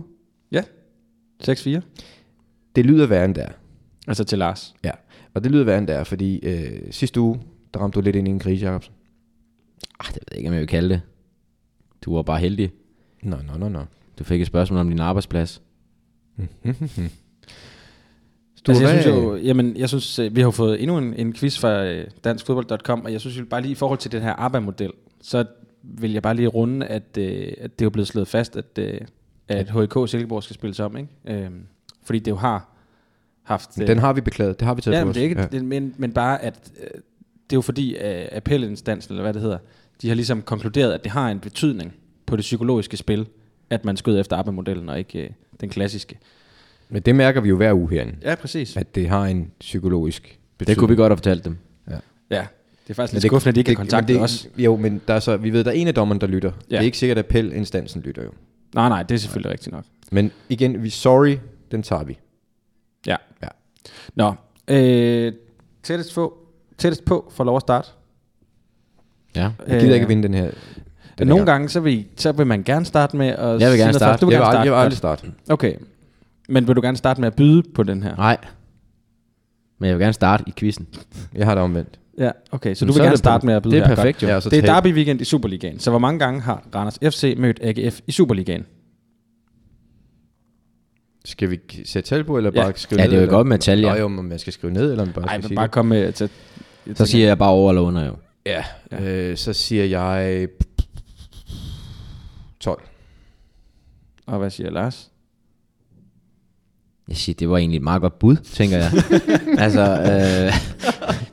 S4: Ja, 6-4.
S2: det lyder værre end der.
S4: Altså til Lars.
S2: Ja, og det lyder værre end der, fordi øh, sidste uge, der ramte du lidt ind i en krise, Jacobsen.
S3: Ah, det ved jeg ikke, om jeg vil kalde det. Du var bare heldig.
S2: Nå, nå, nå, nå.
S3: Du fik et spørgsmål om din arbejdsplads.
S4: Du altså, jeg
S2: hvad-
S4: synes jo, jamen, jeg synes, øh, vi har jo fået endnu en, en quiz fra øh, danskfodbold.com, og jeg synes jo bare lige i forhold til den her ABBA-model, så vil jeg bare lige runde, at, øh, at det er jo blevet slået fast, at, øh, at HK Silkeborg skal spilles om, ikke? Øh, fordi det jo har haft...
S2: øh,
S4: øh,
S2: Den har vi beklaget, det har vi taget
S4: ja,
S2: på
S4: men,
S2: os.
S4: det er ikke,
S2: ja.
S4: ja. det, men, men bare, at øh, det er jo fordi, øh, appellinstansen, eller hvad det hedder, de har ligesom konkluderet, at det har en betydning på det psykologiske spil, at man skød efter ABBA-modellen, og ikke øh, den klassiske.
S2: Men det mærker vi jo hver uge herinde,
S4: Ja, præcis.
S2: at det har en psykologisk betydning.
S3: Det kunne vi godt have fortalt dem.
S4: Ja, det er faktisk
S2: Men
S4: lidt skuffende, at de ikke har
S2: men
S4: kontaktet
S2: det-
S4: os.
S2: Jo, men der er så, vi ved, der er en af dommerne, der lytter. Ja. Det er
S4: Ja.
S2: ikke sikkert, at appelinstansen lytter jo.
S4: Nej, nej, det er selvfølgelig rigtigt nok.
S2: Men igen, vi sorry, den tager vi.
S4: Ja.
S2: Ja.
S4: Nå, øh, tættest, på, tættest på får lov at starte.
S3: Ja.
S2: Jeg gider ikke vinde den her. Den
S4: Nogle gange, så vil, I- så vil man gerne starte med at...
S3: Jeg vil gerne
S4: sige noget
S3: starte.
S4: først. Du vil
S2: Jeg vil,
S4: gerne
S2: aldrig,
S4: starte.
S2: jeg vil aldrig starte.
S4: Okay. Men vil du gerne starte med at byde på den her?
S3: Nej. Men jeg vil gerne starte i quizzen.
S2: Jeg har det omvendt.
S4: Ja, okay. Så
S3: Men
S4: du
S3: så
S4: vil
S3: er
S4: gerne
S3: det
S4: starte
S3: på-
S4: med at byde
S3: det er
S4: her.
S3: perfekt,
S4: Godt.
S2: jo. Ja, så
S4: det er
S2: tab.
S4: derby weekend i Superligaen. Så hvor mange gange har Randers FC mødt AGF i Superligaen?
S2: Skal vi k- sætte tal på, eller
S4: Ja.
S2: bare skrive
S3: Ja,
S2: ned?
S3: det er jo
S2: eller?
S3: godt med tal, ja.
S2: Nå, jo, men man skal skrive ned, eller man bare
S4: Nej,
S2: skal
S4: men
S2: sige
S4: bare
S2: det?
S4: kom med... Til, jeg
S3: Så
S4: tænker-
S3: siger jeg bare over eller under, jo.
S2: Ja, øh, så siger jeg 12.
S4: Og hvad siger Lars?
S3: Jeg siger, det var egentlig et meget godt bud, tænker jeg. altså, øh,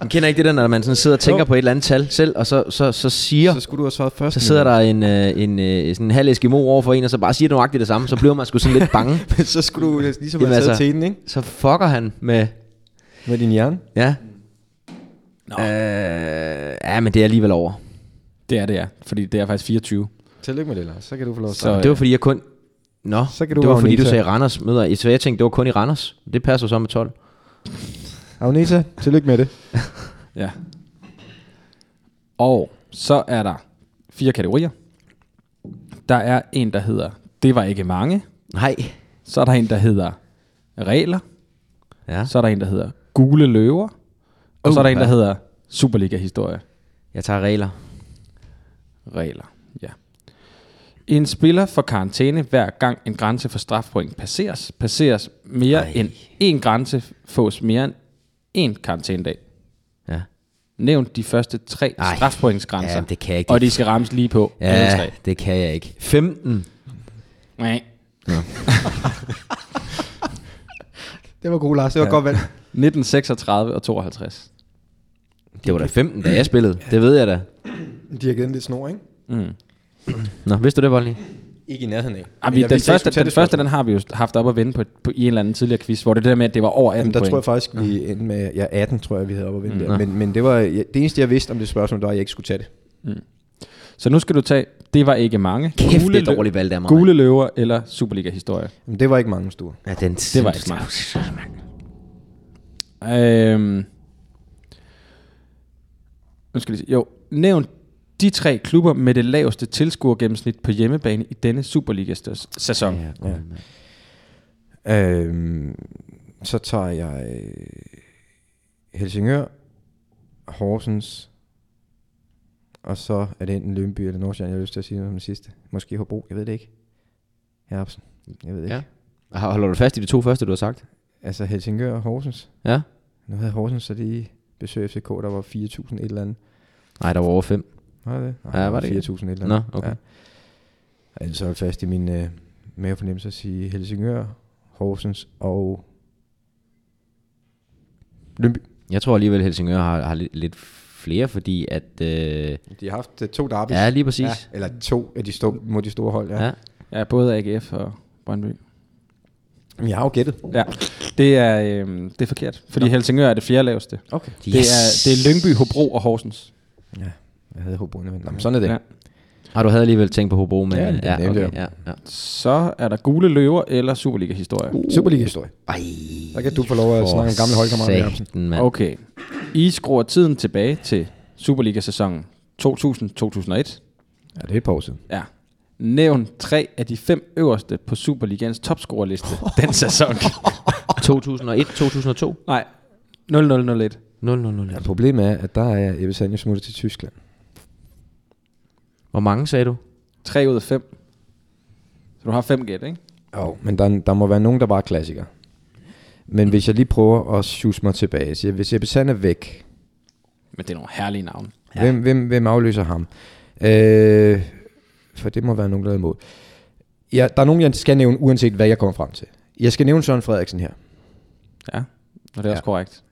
S3: man kender ikke det der, når man sådan sidder og tænker på et eller andet tal selv, og så, så, så siger,
S2: Så skulle du have svaret først.
S3: så sidder der en, øh, en, øh, sådan en halv Eskimo over for en, og så bare siger nøjagtigt det samme, så bliver man sgu sådan lidt bange.
S2: der... så skulle du ligesom
S3: Jamen
S2: have taget
S3: altså-
S2: til den, ikke?
S3: Så fucker han med,
S2: Med din hjerne.
S3: ja. Øh, ja, men det er alligevel over.
S4: Det er det, ja. Fordi det er faktisk 24.
S2: Tillykke med det, Lars. Så kan du få lov at
S4: Så,
S3: Det var fordi, jeg kun... Nå,
S2: Så kan du
S3: det var
S2: være
S3: fordi, du
S2: Agneta.
S3: sagde Randers møder. Så jeg tænkte, det var kun i Randers. Det passer så med 12.
S2: Agneta, tillykke med det.
S4: Ja. Og så er der fire kategorier. Der er en, der hedder, det var ikke mange.
S3: Nej.
S4: Så er der en, der hedder regler.
S3: Ja.
S4: Så er der en, der hedder gule løver. Og så er der en,
S3: Uha.
S4: der hedder Superliga-historie.
S3: Jeg tager regler.
S4: regler. Ja. En spiller får karantæne hver gang en grænse for strafpoint passeres. Passeres mere
S3: Ej.
S4: Ej. end en grænse fås mere end en karantænedag.
S3: Ja.
S4: Nævn de første tre
S3: Ej.
S4: Ej. strafpointsgrænser.
S3: Jamen, det kan jeg ikke.
S4: Og de skal rammes lige på ja. alle tre.
S3: Ja, det kan jeg ikke. 15.
S4: Nej.
S2: Det var god, Lars. Det var ja. godt valgt.
S4: 1936 og 52.
S3: Det var da 15, da jeg spillede. Det ved jeg da.
S2: De har givet en lidt snor, ikke?
S3: Nå, vidste du det, Voldny?
S2: Ikke i nærheden af.
S4: Jamen, den første, den, første den har vi jo haft op at vende på, på, i en eller anden tidligere quiz, hvor det der med, at det var over 18
S2: Jamen, der
S4: point.
S2: tror jeg faktisk, vi endte med, ja, 18 tror jeg, vi havde oppe at vinde der. Men, men det var, ja, det eneste, jeg vidste om det spørgsmål, det var, at jeg ikke skulle tage det.
S4: Så nu skal du tage, det var ikke mange.
S3: Kæft, det er
S4: lø-
S3: dårligt valgt af mig.
S4: Gule løver eller Superliga-historie.
S2: Men det var ikke mange stuer.
S3: Ja, den
S4: Det var ikke smart. Øhm, nu skal jeg lige se. Jo, nævn de tre klubber med det laveste tilskuergennemsnit på hjemmebane i denne Superliga-sæson. Ja.
S3: Ja.
S2: Øhm, så tager jeg øh, Helsingør, Horsens, og så er det enten Lønby eller Nordsjælland, jeg har lyst til at sige noget som det sidste. Måske Hobro, jeg ved det ikke. Herbsen, jeg ved det
S3: Ja.
S2: ikke.
S3: Har- Holder du fast i de to første, du har sagt?
S2: Altså Helsingør og Horsens.
S3: Ja.
S2: Nu havde Horsens så lige besøg af FCK, der var 4.000 et eller andet.
S3: Nej, der var over 5.
S2: Var det? Nej,
S3: Ja,
S2: der
S3: var det
S2: 4.000
S3: ikke?
S2: et eller andet.
S3: Nå, okay.
S2: Ja. Altså, så er jeg fast i min øh, mavefornemmelse at sige Helsingør, Horsens og Lønby.
S3: Jeg tror alligevel, Helsingør har, har lidt, lidt flere, fordi at... Øh,
S2: De har haft øh, to derbys.
S3: ja, lige præcis.
S2: Ja, eller to af de store, mod de store hold, ja.
S3: Ja.
S2: ja.
S3: ja.
S4: ja, både AGF og Brøndby.
S2: Men jeg har jo gættet.
S4: Ja, det er, øhm, det er forkert, fordi Helsingør er det fjerde laveste.
S2: Okay.
S4: Yes. Det, er, det er Lyngby, Hobro og Horsens.
S2: Ja, jeg havde håbet undervendt. Nå, men sådan er det.
S4: Ja.
S2: Ja.
S3: Har du havde alligevel tænkt på Hobro, men...
S2: Ja, det
S3: ja,
S2: nævnte
S3: okay,
S2: jeg.
S3: ja, ja.
S4: Så er der Gule Løver eller Superliga-historie.
S2: Superliga-historie.
S3: Ej,
S2: Der kan du få lov at snakke om gamle holdkammerater. Jacobsen.
S3: satan, mand.
S4: Okay. I skruer tiden tilbage til Superliga-sæsonen 2000-2001.
S2: Ja, det er et par år siden.
S4: Ja. Nævn tre af de fem øverste på Superligans topscorerliste den sæson.
S3: 2001, 2002.
S4: Nej, 0001.
S3: 0001.
S2: Ja, problemet er, at der er Ebbe Sanje smuttet til Tyskland.
S3: Hvor mange sagde du?
S4: 3 ud af 5. Så du har fem gæt, ikke?
S2: Jo, Oh, men der, der må være nogen, der bare er klassikere. Men
S3: Mm.
S2: hvis jeg lige prøver at sjuse mig tilbage, så hvis Ebbe Sand er væk,
S4: Men det er nogle herlige navne.
S2: ja. hvem, hvem, hvem afløser ham? Øh, for det må være nogen, der er imod. Ja, der er nogen, jeg skal nævne, uanset hvad jeg kommer frem til. Jeg skal nævne Søren Frederiksen her.
S4: Ja, og det er også
S2: Ja.
S4: korrekt.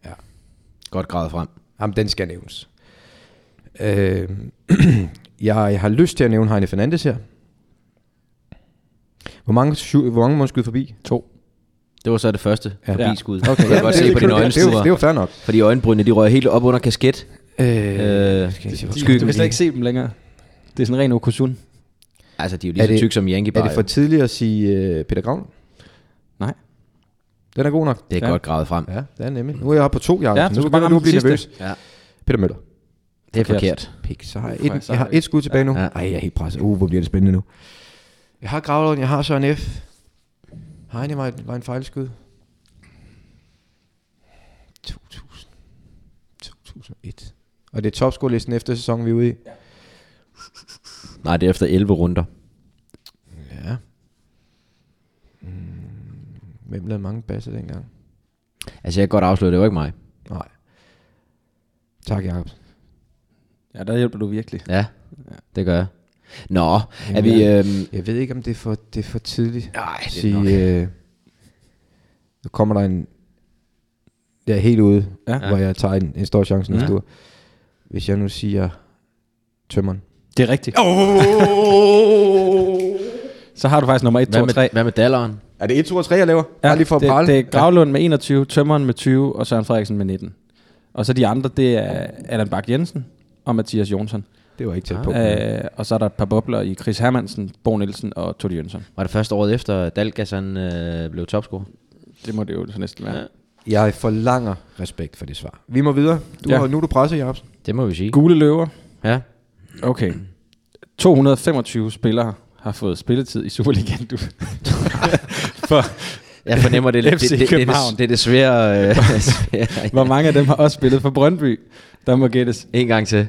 S3: Godt gravet frem.
S2: Jamen, den skal nævnes. Øh, jeg har lyst til at nævne Heine Fernandes her. Hvor mange, sju- hvor mange må han skyde forbi?
S4: To.
S3: Det var så det første
S2: Ja.
S3: forbiskud. Okay, jeg kan godt se
S2: det,
S3: på
S2: det,
S3: dine
S2: det, var- det
S3: øjenstuer.
S2: var fair nok.
S3: Fordi øjenbrynene, de røg helt op under kasket. Øh,
S4: Du
S3: skyggen.
S4: kan slet ikke se dem længere. Det er sådan ren okusun.
S3: Altså, de er jo
S2: Er
S3: lige
S2: det-
S3: så tykke som Yankee
S2: Er
S3: Bar.
S2: det for
S3: jo.
S2: tidligt at sige øh, Peter Gravn?
S4: Nej.
S2: Den er god nok.
S3: Det er
S4: Ja.
S3: godt gravet frem.
S2: Ja, det er nemlig. Nu er jeg oppe på to, Jacob.
S4: Ja,
S2: Ja,
S4: du
S2: nu
S4: skal bare
S2: skal
S4: ramme
S2: du blive
S4: den
S2: nervøs.
S3: Ja.
S2: Peter Møller.
S3: Det er
S4: Forkert.
S3: forkert.
S2: Pik, så har jeg,
S4: Uff,
S2: et,
S4: så
S2: jeg
S4: har
S2: har
S4: jeg-
S2: et skud tilbage nu.
S3: Ja.
S2: Ej, jeg er helt presset. Uh, hvor bliver det spændende nu. Jeg har Gravlund, jeg har Søren F. Heine var, et- var en fejlskud. 2000. 2001. Og det er topskolelisten efter sæsonen, vi er ude i.
S3: Nej, det er efter 11 runder.
S2: Ja. Mm, hvem lavede mange basser dengang?
S3: Altså, jeg kan godt afsløre, det var ikke mig.
S2: Nej. Tak, Jacob.
S4: Ja, der hjælper du virkelig.
S3: Ja, det gør jeg. Nå, er
S2: Jamen,
S3: vi...
S2: ja.
S3: Øhm,
S2: Jeg ved ikke, om det er for, det er for tidligt.
S3: nej, det er nok.
S2: sige, øh, nu kommer der en, jeg er helt ude,
S4: Ja.
S2: ja. hvor jeg tager en, en stor chance næste
S3: Ja.
S2: uge. Hvis jeg nu siger tømmeren.
S4: Det er rigtigt. Så har du faktisk nummer 1, 2
S3: Hvad
S4: og 3.
S3: med, hvad med dalleren?
S2: Er det 1, 2 og 3, jeg laver? Bare lige for at
S4: det,
S2: prale.
S4: det er Gravlund med 21, Tømmeren med 20 og Søren Frederiksen med 19. Og så de andre, det er Allan Bak Jensen og Mathias Jonsson.
S2: Det var ikke tæt på.
S4: Øh, og så er der et par bobler i Chris Hermansen, Bo Nielsen og Tony Jønsson.
S3: Var det første året efter, at Dalgas han, øh, blev topscorer?
S4: Det må det jo så næsten være. Ja.
S2: Jeg forlanger respekt for det svar. Vi må videre. Du
S4: Ja.
S2: har, nu er du presset, Jacobsen.
S3: Det må vi sige.
S4: Gule løver.
S3: Ja.
S4: Okay. 225 spillere har fået spilletid i Superligaen. Du. For,
S3: Jeg fornemmer, det er lidt-
S4: FC
S3: det, det, det, det, er
S4: København.
S3: det, det er det svære. Øh, svære.
S4: hvor mange af dem har også spillet for Brøndby? Der må gættes.
S3: En gang til.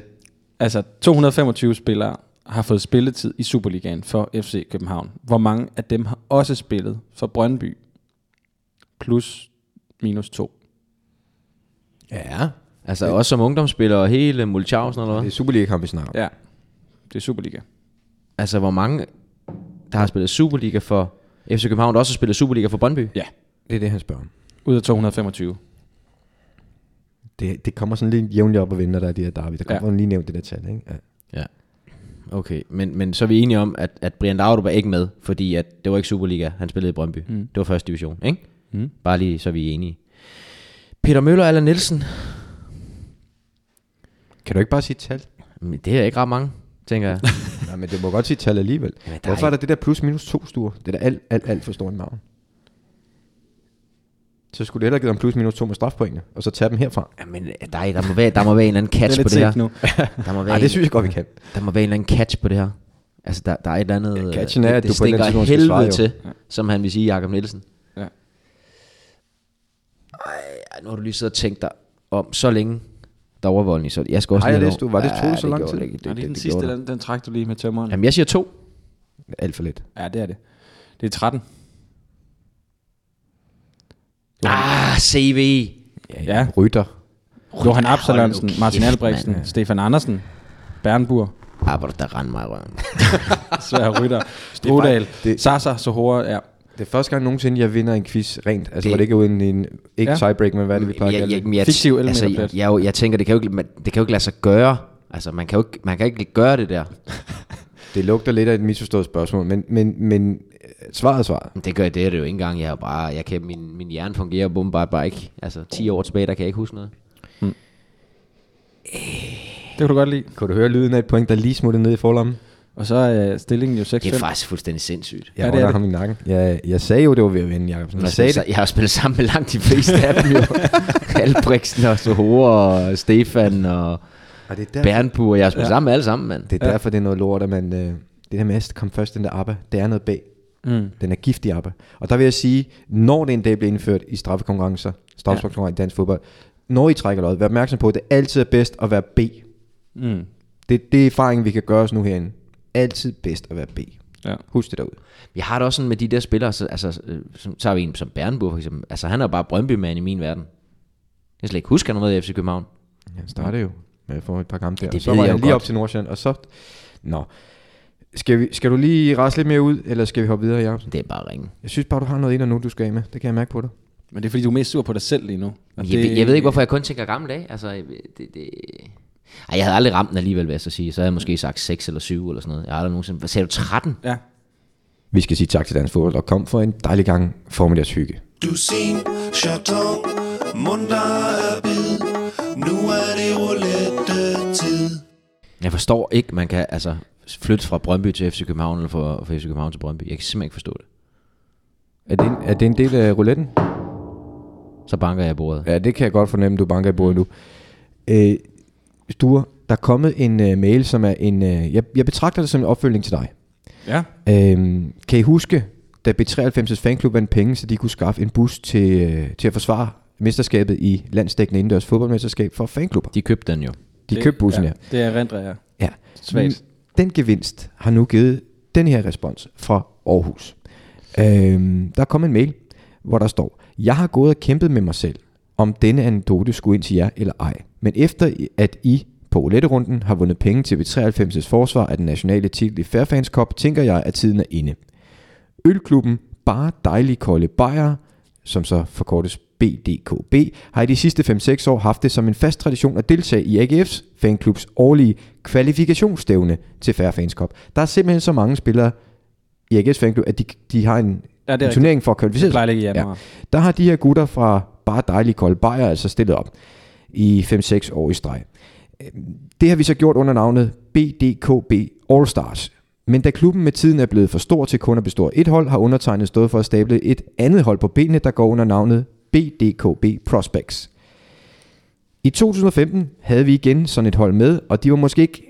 S4: Altså, 225 spillere har fået spilletid i Superligaen for FC København. Hvor mange af dem har også spillet for Brøndby? Plus minus to.
S2: Ja.
S3: Altså også som ungdomsspiller og hele Mulchausen eller
S2: Det
S3: hvad?
S2: er Superliga-kamp, vi snakker om.
S4: Ja, det er Superliga.
S3: Altså hvor mange, der har spillet Superliga for FC København, der også har spillet Superliga for Brøndby?
S4: Ja,
S2: Det er det, han spørger om.
S4: ud af 225.
S2: Det, det kommer sådan lidt jævnligt op og vinde, når der er de her derby. Der
S4: Ja.
S2: kommer ja. lige nævnt det der tal, ikke? Ja.
S3: Ja. Okay, men, men så er vi enige om, at, at Brian Laudrup er ikke med, fordi at det var ikke Superliga, han spillede i Brøndby. Mm. Det var første division, ikke? Mm. Bare lige, så vi er enige. Peter Møller eller Nielsen?
S2: Kan du ikke bare sige tal?
S3: Men Det er ikke ret mange, tænker jeg.
S2: Nej, men det må godt sige tal alligevel.
S3: Jamen, der er
S2: Hvorfor er der det der plus minus to store? Det er da alt, alt, alt for stor en maven. Så skulle du hellere give dem plus minus to med strafpoengene, og så tage dem herfra.
S3: Jamen, der, der, må være, der må være en eller anden catch på det her.
S4: nu.
S3: Der må være
S2: Nej,
S3: en-
S2: det synes jeg godt, vi kan.
S3: Der må være en eller anden catch på det her. Altså, der, der er et eller andet... øh,
S2: catchen er,
S3: det,
S2: at
S3: det
S2: du på et eller andet
S3: stinker
S2: tidspunkt skal svare,
S3: helvede
S2: jo.
S3: til, som han vil sige, Jakob Nielsen.
S4: Ja.
S3: Ej, nu har du lige siddet og tænkt dig om så længe derovre Voldny, så jeg skal også
S2: Har jeg
S3: lige
S2: læst, du- var det to så lang tid?
S3: Det, det,
S4: Og
S3: det,
S4: lige den
S3: det,
S4: sidste,
S3: gjorde det,
S4: den, den trak du lige med tømmeren.
S3: Jamen, jeg siger to.
S2: Alt for lidt.
S4: Ja, det er det. Det er 13.
S3: Ah, CV.
S4: Ja.
S2: Rytter.
S4: Johan Absalonsen,
S3: kæft,
S4: Martin Albrechtsen,
S3: mand.
S4: Stefan Andersen, Bernburg,
S3: Ah, hvor der rende mig i røven.
S4: Svær Rytter, Strudal,
S2: det-
S4: Sasa, Sohora, ja.
S2: Det er første gang nogensinde, jeg vinder en quiz rent. Altså, det,
S3: Det-
S2: hvor det ikke er uden en... Ikke
S4: Ja.
S2: tiebreak, men hvad er det, vi plejer at
S3: jeg,
S2: kalde
S3: jeg,
S2: det?
S3: men jeg,
S4: Fiktiv
S3: altså, jeg,
S4: elmeterplet.
S3: jeg, jo- jeg, tænker, det kan, jo ikke, man, det kan jo ikke lade sig gøre. Altså, man kan jo ikke, man kan ikke gøre det der.
S2: Det lugter lidt af et misforstået spørgsmål, men, men, men øh, svaret er svaret.
S3: Men Det gør det, er det jo ikke engang. Jeg er jo bare, jeg kan, min, min hjerne fungerer bombardt bare ikke. Altså, 10 år tilbage, der kan jeg ikke huske noget.
S4: Det kan du godt lide.
S2: Kunne du høre lyden af et point, der lige smuttede ned i forlommen?
S4: Og så er stillingen jo 6
S3: Det er faktisk fuldstændig sindssygt.
S2: Jeg
S4: Ja,
S2: ja,
S4: det er
S2: det
S4: det.
S2: ham i nakken. Jeg, jeg sagde jo, det var ved at vinde, Jacobsen.
S3: altså, Jeg
S2: Jeg sagde det.
S3: har, spillet, sa- jeg har spillet sammen med langt de fleste af dem jo. Albrechtsen og Sohore og Stefan og
S2: Og det er, der,
S3: Bernburg. Jeg har spillet ja. sammen med alle sammen, mand.
S2: det er derfor, det er noget lort, at man... Øh, det der med at komme først den der ABBA, det er noget bag.
S4: Mm.
S2: Den er giftig ABBA. Og der vil jeg sige, når det en dag bliver indført i straffekonkurrencer, straffekonkurrencer i dansk fodbold, når I trækker løjet, vær opmærksom på, at det altid er bedst at være B.
S4: Mm.
S2: Det, det er erfaringen, vi kan gøre os nu herinde. Altid bedst at være B.
S4: Ja.
S2: Husk det derude.
S3: Jeg har det også sådan med de der spillere, så, altså, øh, så tager vi en som Bernburg for eksempel. Altså, han er jo bare Brøndby-mand i min verden. Jeg kan slet ikke huske, han har været i FC København.
S2: Han startede jo med at få et par kampe der.
S3: Det
S2: så
S3: ved
S2: var
S3: jeg
S2: han
S3: jo
S2: lige
S3: godt.
S2: op til Nordsjælland, og så... Nå. Skal, vi, skal du lige rasle lidt mere ud, eller skal vi hoppe videre, Jacobsen?
S3: Det er bare ringe.
S2: Jeg synes bare, du har noget ind og nu, du skal af med. Det kan jeg mærke på dig.
S4: Men det er fordi, du er mest sur på dig selv lige nu. Og
S3: Jeg,
S4: det,
S3: ved- jeg ved ikke, hvorfor jeg kun tænker gamle dage. Altså, jeg ved- det, det... Ej, jeg havde aldrig ramt den alligevel, vil jeg så sige. Så havde jeg måske sagt 6 eller 7 eller sådan noget. Jeg har aldrig nogensinde... Hvad sagde du? 13?
S4: Ja.
S2: Vi skal sige tak til Dansk Fodbold, og kom for en dejlig gang formiddagshygge.
S6: Dusin, chaton, munter er bid. Nu er det roulette-tid.
S3: Jeg forstår ikke, man kan altså flytte fra Brøndby til FC København, eller fra, fra FC København til Brøndby. Jeg kan simpelthen ikke forstå det.
S2: Er det, en, er det en del af rouletten?
S3: Så banker jeg i bordet.
S2: Ja, det kan jeg godt fornemme, du banker i bordet nu. Øh, Sture, der er kommet en øh, mail, som er en... Øh, jeg, jeg betragter det som en opfølgning til dig.
S4: Ja.
S2: Øhm, kan I huske, da B93's fanklub vandt penge, så de kunne skaffe en bus til, øh, til at forsvare mesterskabet i landsdækkende indendørs fodboldmesterskab for fanklubber?
S3: De købte den jo.
S2: De købte bussen,
S4: ja.
S2: ja.
S4: Det er rent, ja.
S2: ja.
S4: Svagt.
S2: Den gevinst har nu givet den her respons fra Aarhus. Øhm, der kom en mail, hvor der står, jeg har gået og kæmpet med mig selv, om denne anekdote skulle ind til jer eller ej. Men efter I- at I på roulette-runden har vundet penge til V93's forsvar af den nationale titel i Fairfans Cup, tænker jeg, at tiden er inde. Ølklubben Bare Dejlige Kolde Bajer, som så forkortes BDKB, har i de sidste 5-6 år haft det som en fast tradition at deltage i AGF's fanklubs årlige kvalifikationsstævne til Fair Fans Cup. Der er simpelthen så mange spillere i AGF's fanklub, at de, de har en,
S4: Ja,
S2: ja,
S4: det er
S2: en turnering for at kvalificere
S4: Det plejer at ligge i januar.
S2: Der har de her gutter fra Bare Dejlige Kolde Bajer altså stillet op i 5-6 år i streg. Det har vi så gjort under navnet BDKB All Stars. Men da klubben med tiden er blevet for stor til kun at bestå af et hold, har undertegnet stået for at stable et andet hold på benene, der går under navnet BDKB Prospects. I 2015 havde vi igen sådan et hold med, og de var måske ikke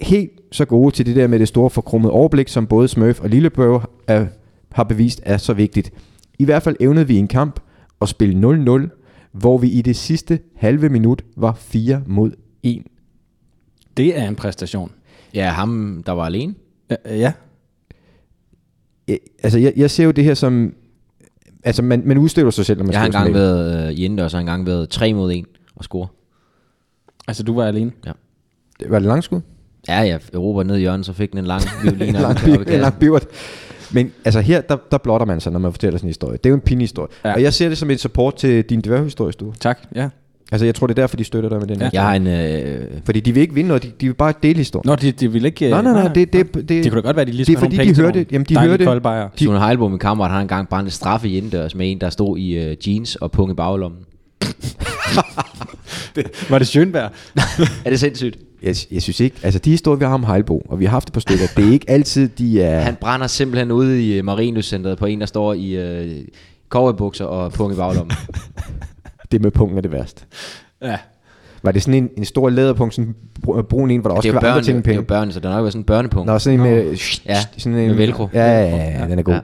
S2: helt så gode til det der med det store forkrummede overblik, som både Smurf og Lillebøv er, har bevist er så vigtigt. I hvert fald evnede vi i en kamp at spille 0-0, hvor vi i det sidste halve minut var 4 mod 1.
S4: Det er en præstation.
S3: Ja, ham, der var alene.
S4: Ja, øh, ja.
S2: Jeg, altså, jeg, jeg ser jo det her som... Altså, man, man udstøver sig selv, når man
S3: Jeg har
S2: skriver
S3: engang
S2: sådan
S3: været øh, i indendørs, og har engang været 3 mod 1 og score.
S4: altså du var alene.
S2: et- Var det langskud?
S3: Ja, jeg Europa ned i hjørnet, så fik den en lang violin.
S2: en
S3: og
S2: lang,
S3: den kom op
S2: bi- en
S3: i kassen.
S2: lang bivert. Men altså her, der, der blotter man sig, når man fortæller sådan en historie. Det er jo en pinlig historie. Ja.
S4: Ja.
S2: Og jeg ser det som et support til din dværghistorie, du.
S4: Tak, ja.
S2: Altså jeg tror, det er derfor, de støtter dig med den ja.
S4: Ja.
S3: Jeg har en... Øh,
S2: Fordi de vil ikke vinde noget, de, de vil bare dele historien.
S4: Nå, de, de ville ikke... øh,
S2: Nej, nej, nej, det, det, det,
S4: Det kunne da godt være, de lige
S2: Det er
S4: smed
S2: fordi,
S4: nogle penge
S2: de
S4: til
S2: hørte
S4: nogle
S2: det. Jamen, de
S4: dejlige
S2: hørte det.
S4: koldbajere.
S2: De-
S3: Sune Heilbo, min kammerat, har engang brændt et straffe indendørs med en, der stod i øh, jeans og punge i baglommen.
S4: Var det Sjønberg?
S3: Er det sindssygt?
S2: Jeg, jeg synes ikke, altså de historier, vi har om Heilbo, og vi har haft et par stykker, det er ikke altid, de er...
S3: Han brænder simpelthen ude i øh, Marinuscenteret på en, der står i øh, cowboybukser og punge i baglommen.
S2: Det med punkten er det værste.
S4: Ja.
S2: Var det sådan en, en stor læderpunkt, sådan br- øh, brun en, hvor der
S3: det
S2: også
S3: er
S2: kan
S3: jo
S2: være andre
S3: børn,
S2: ting
S3: jo,
S2: end
S3: det er jo
S2: penge?
S3: børn, så der nok var sådan en børnepunkt.
S2: Nå, sådan en med...
S3: Ja,
S2: sådan
S3: med velcro.
S2: Ja, ja, ja, ja, den er god.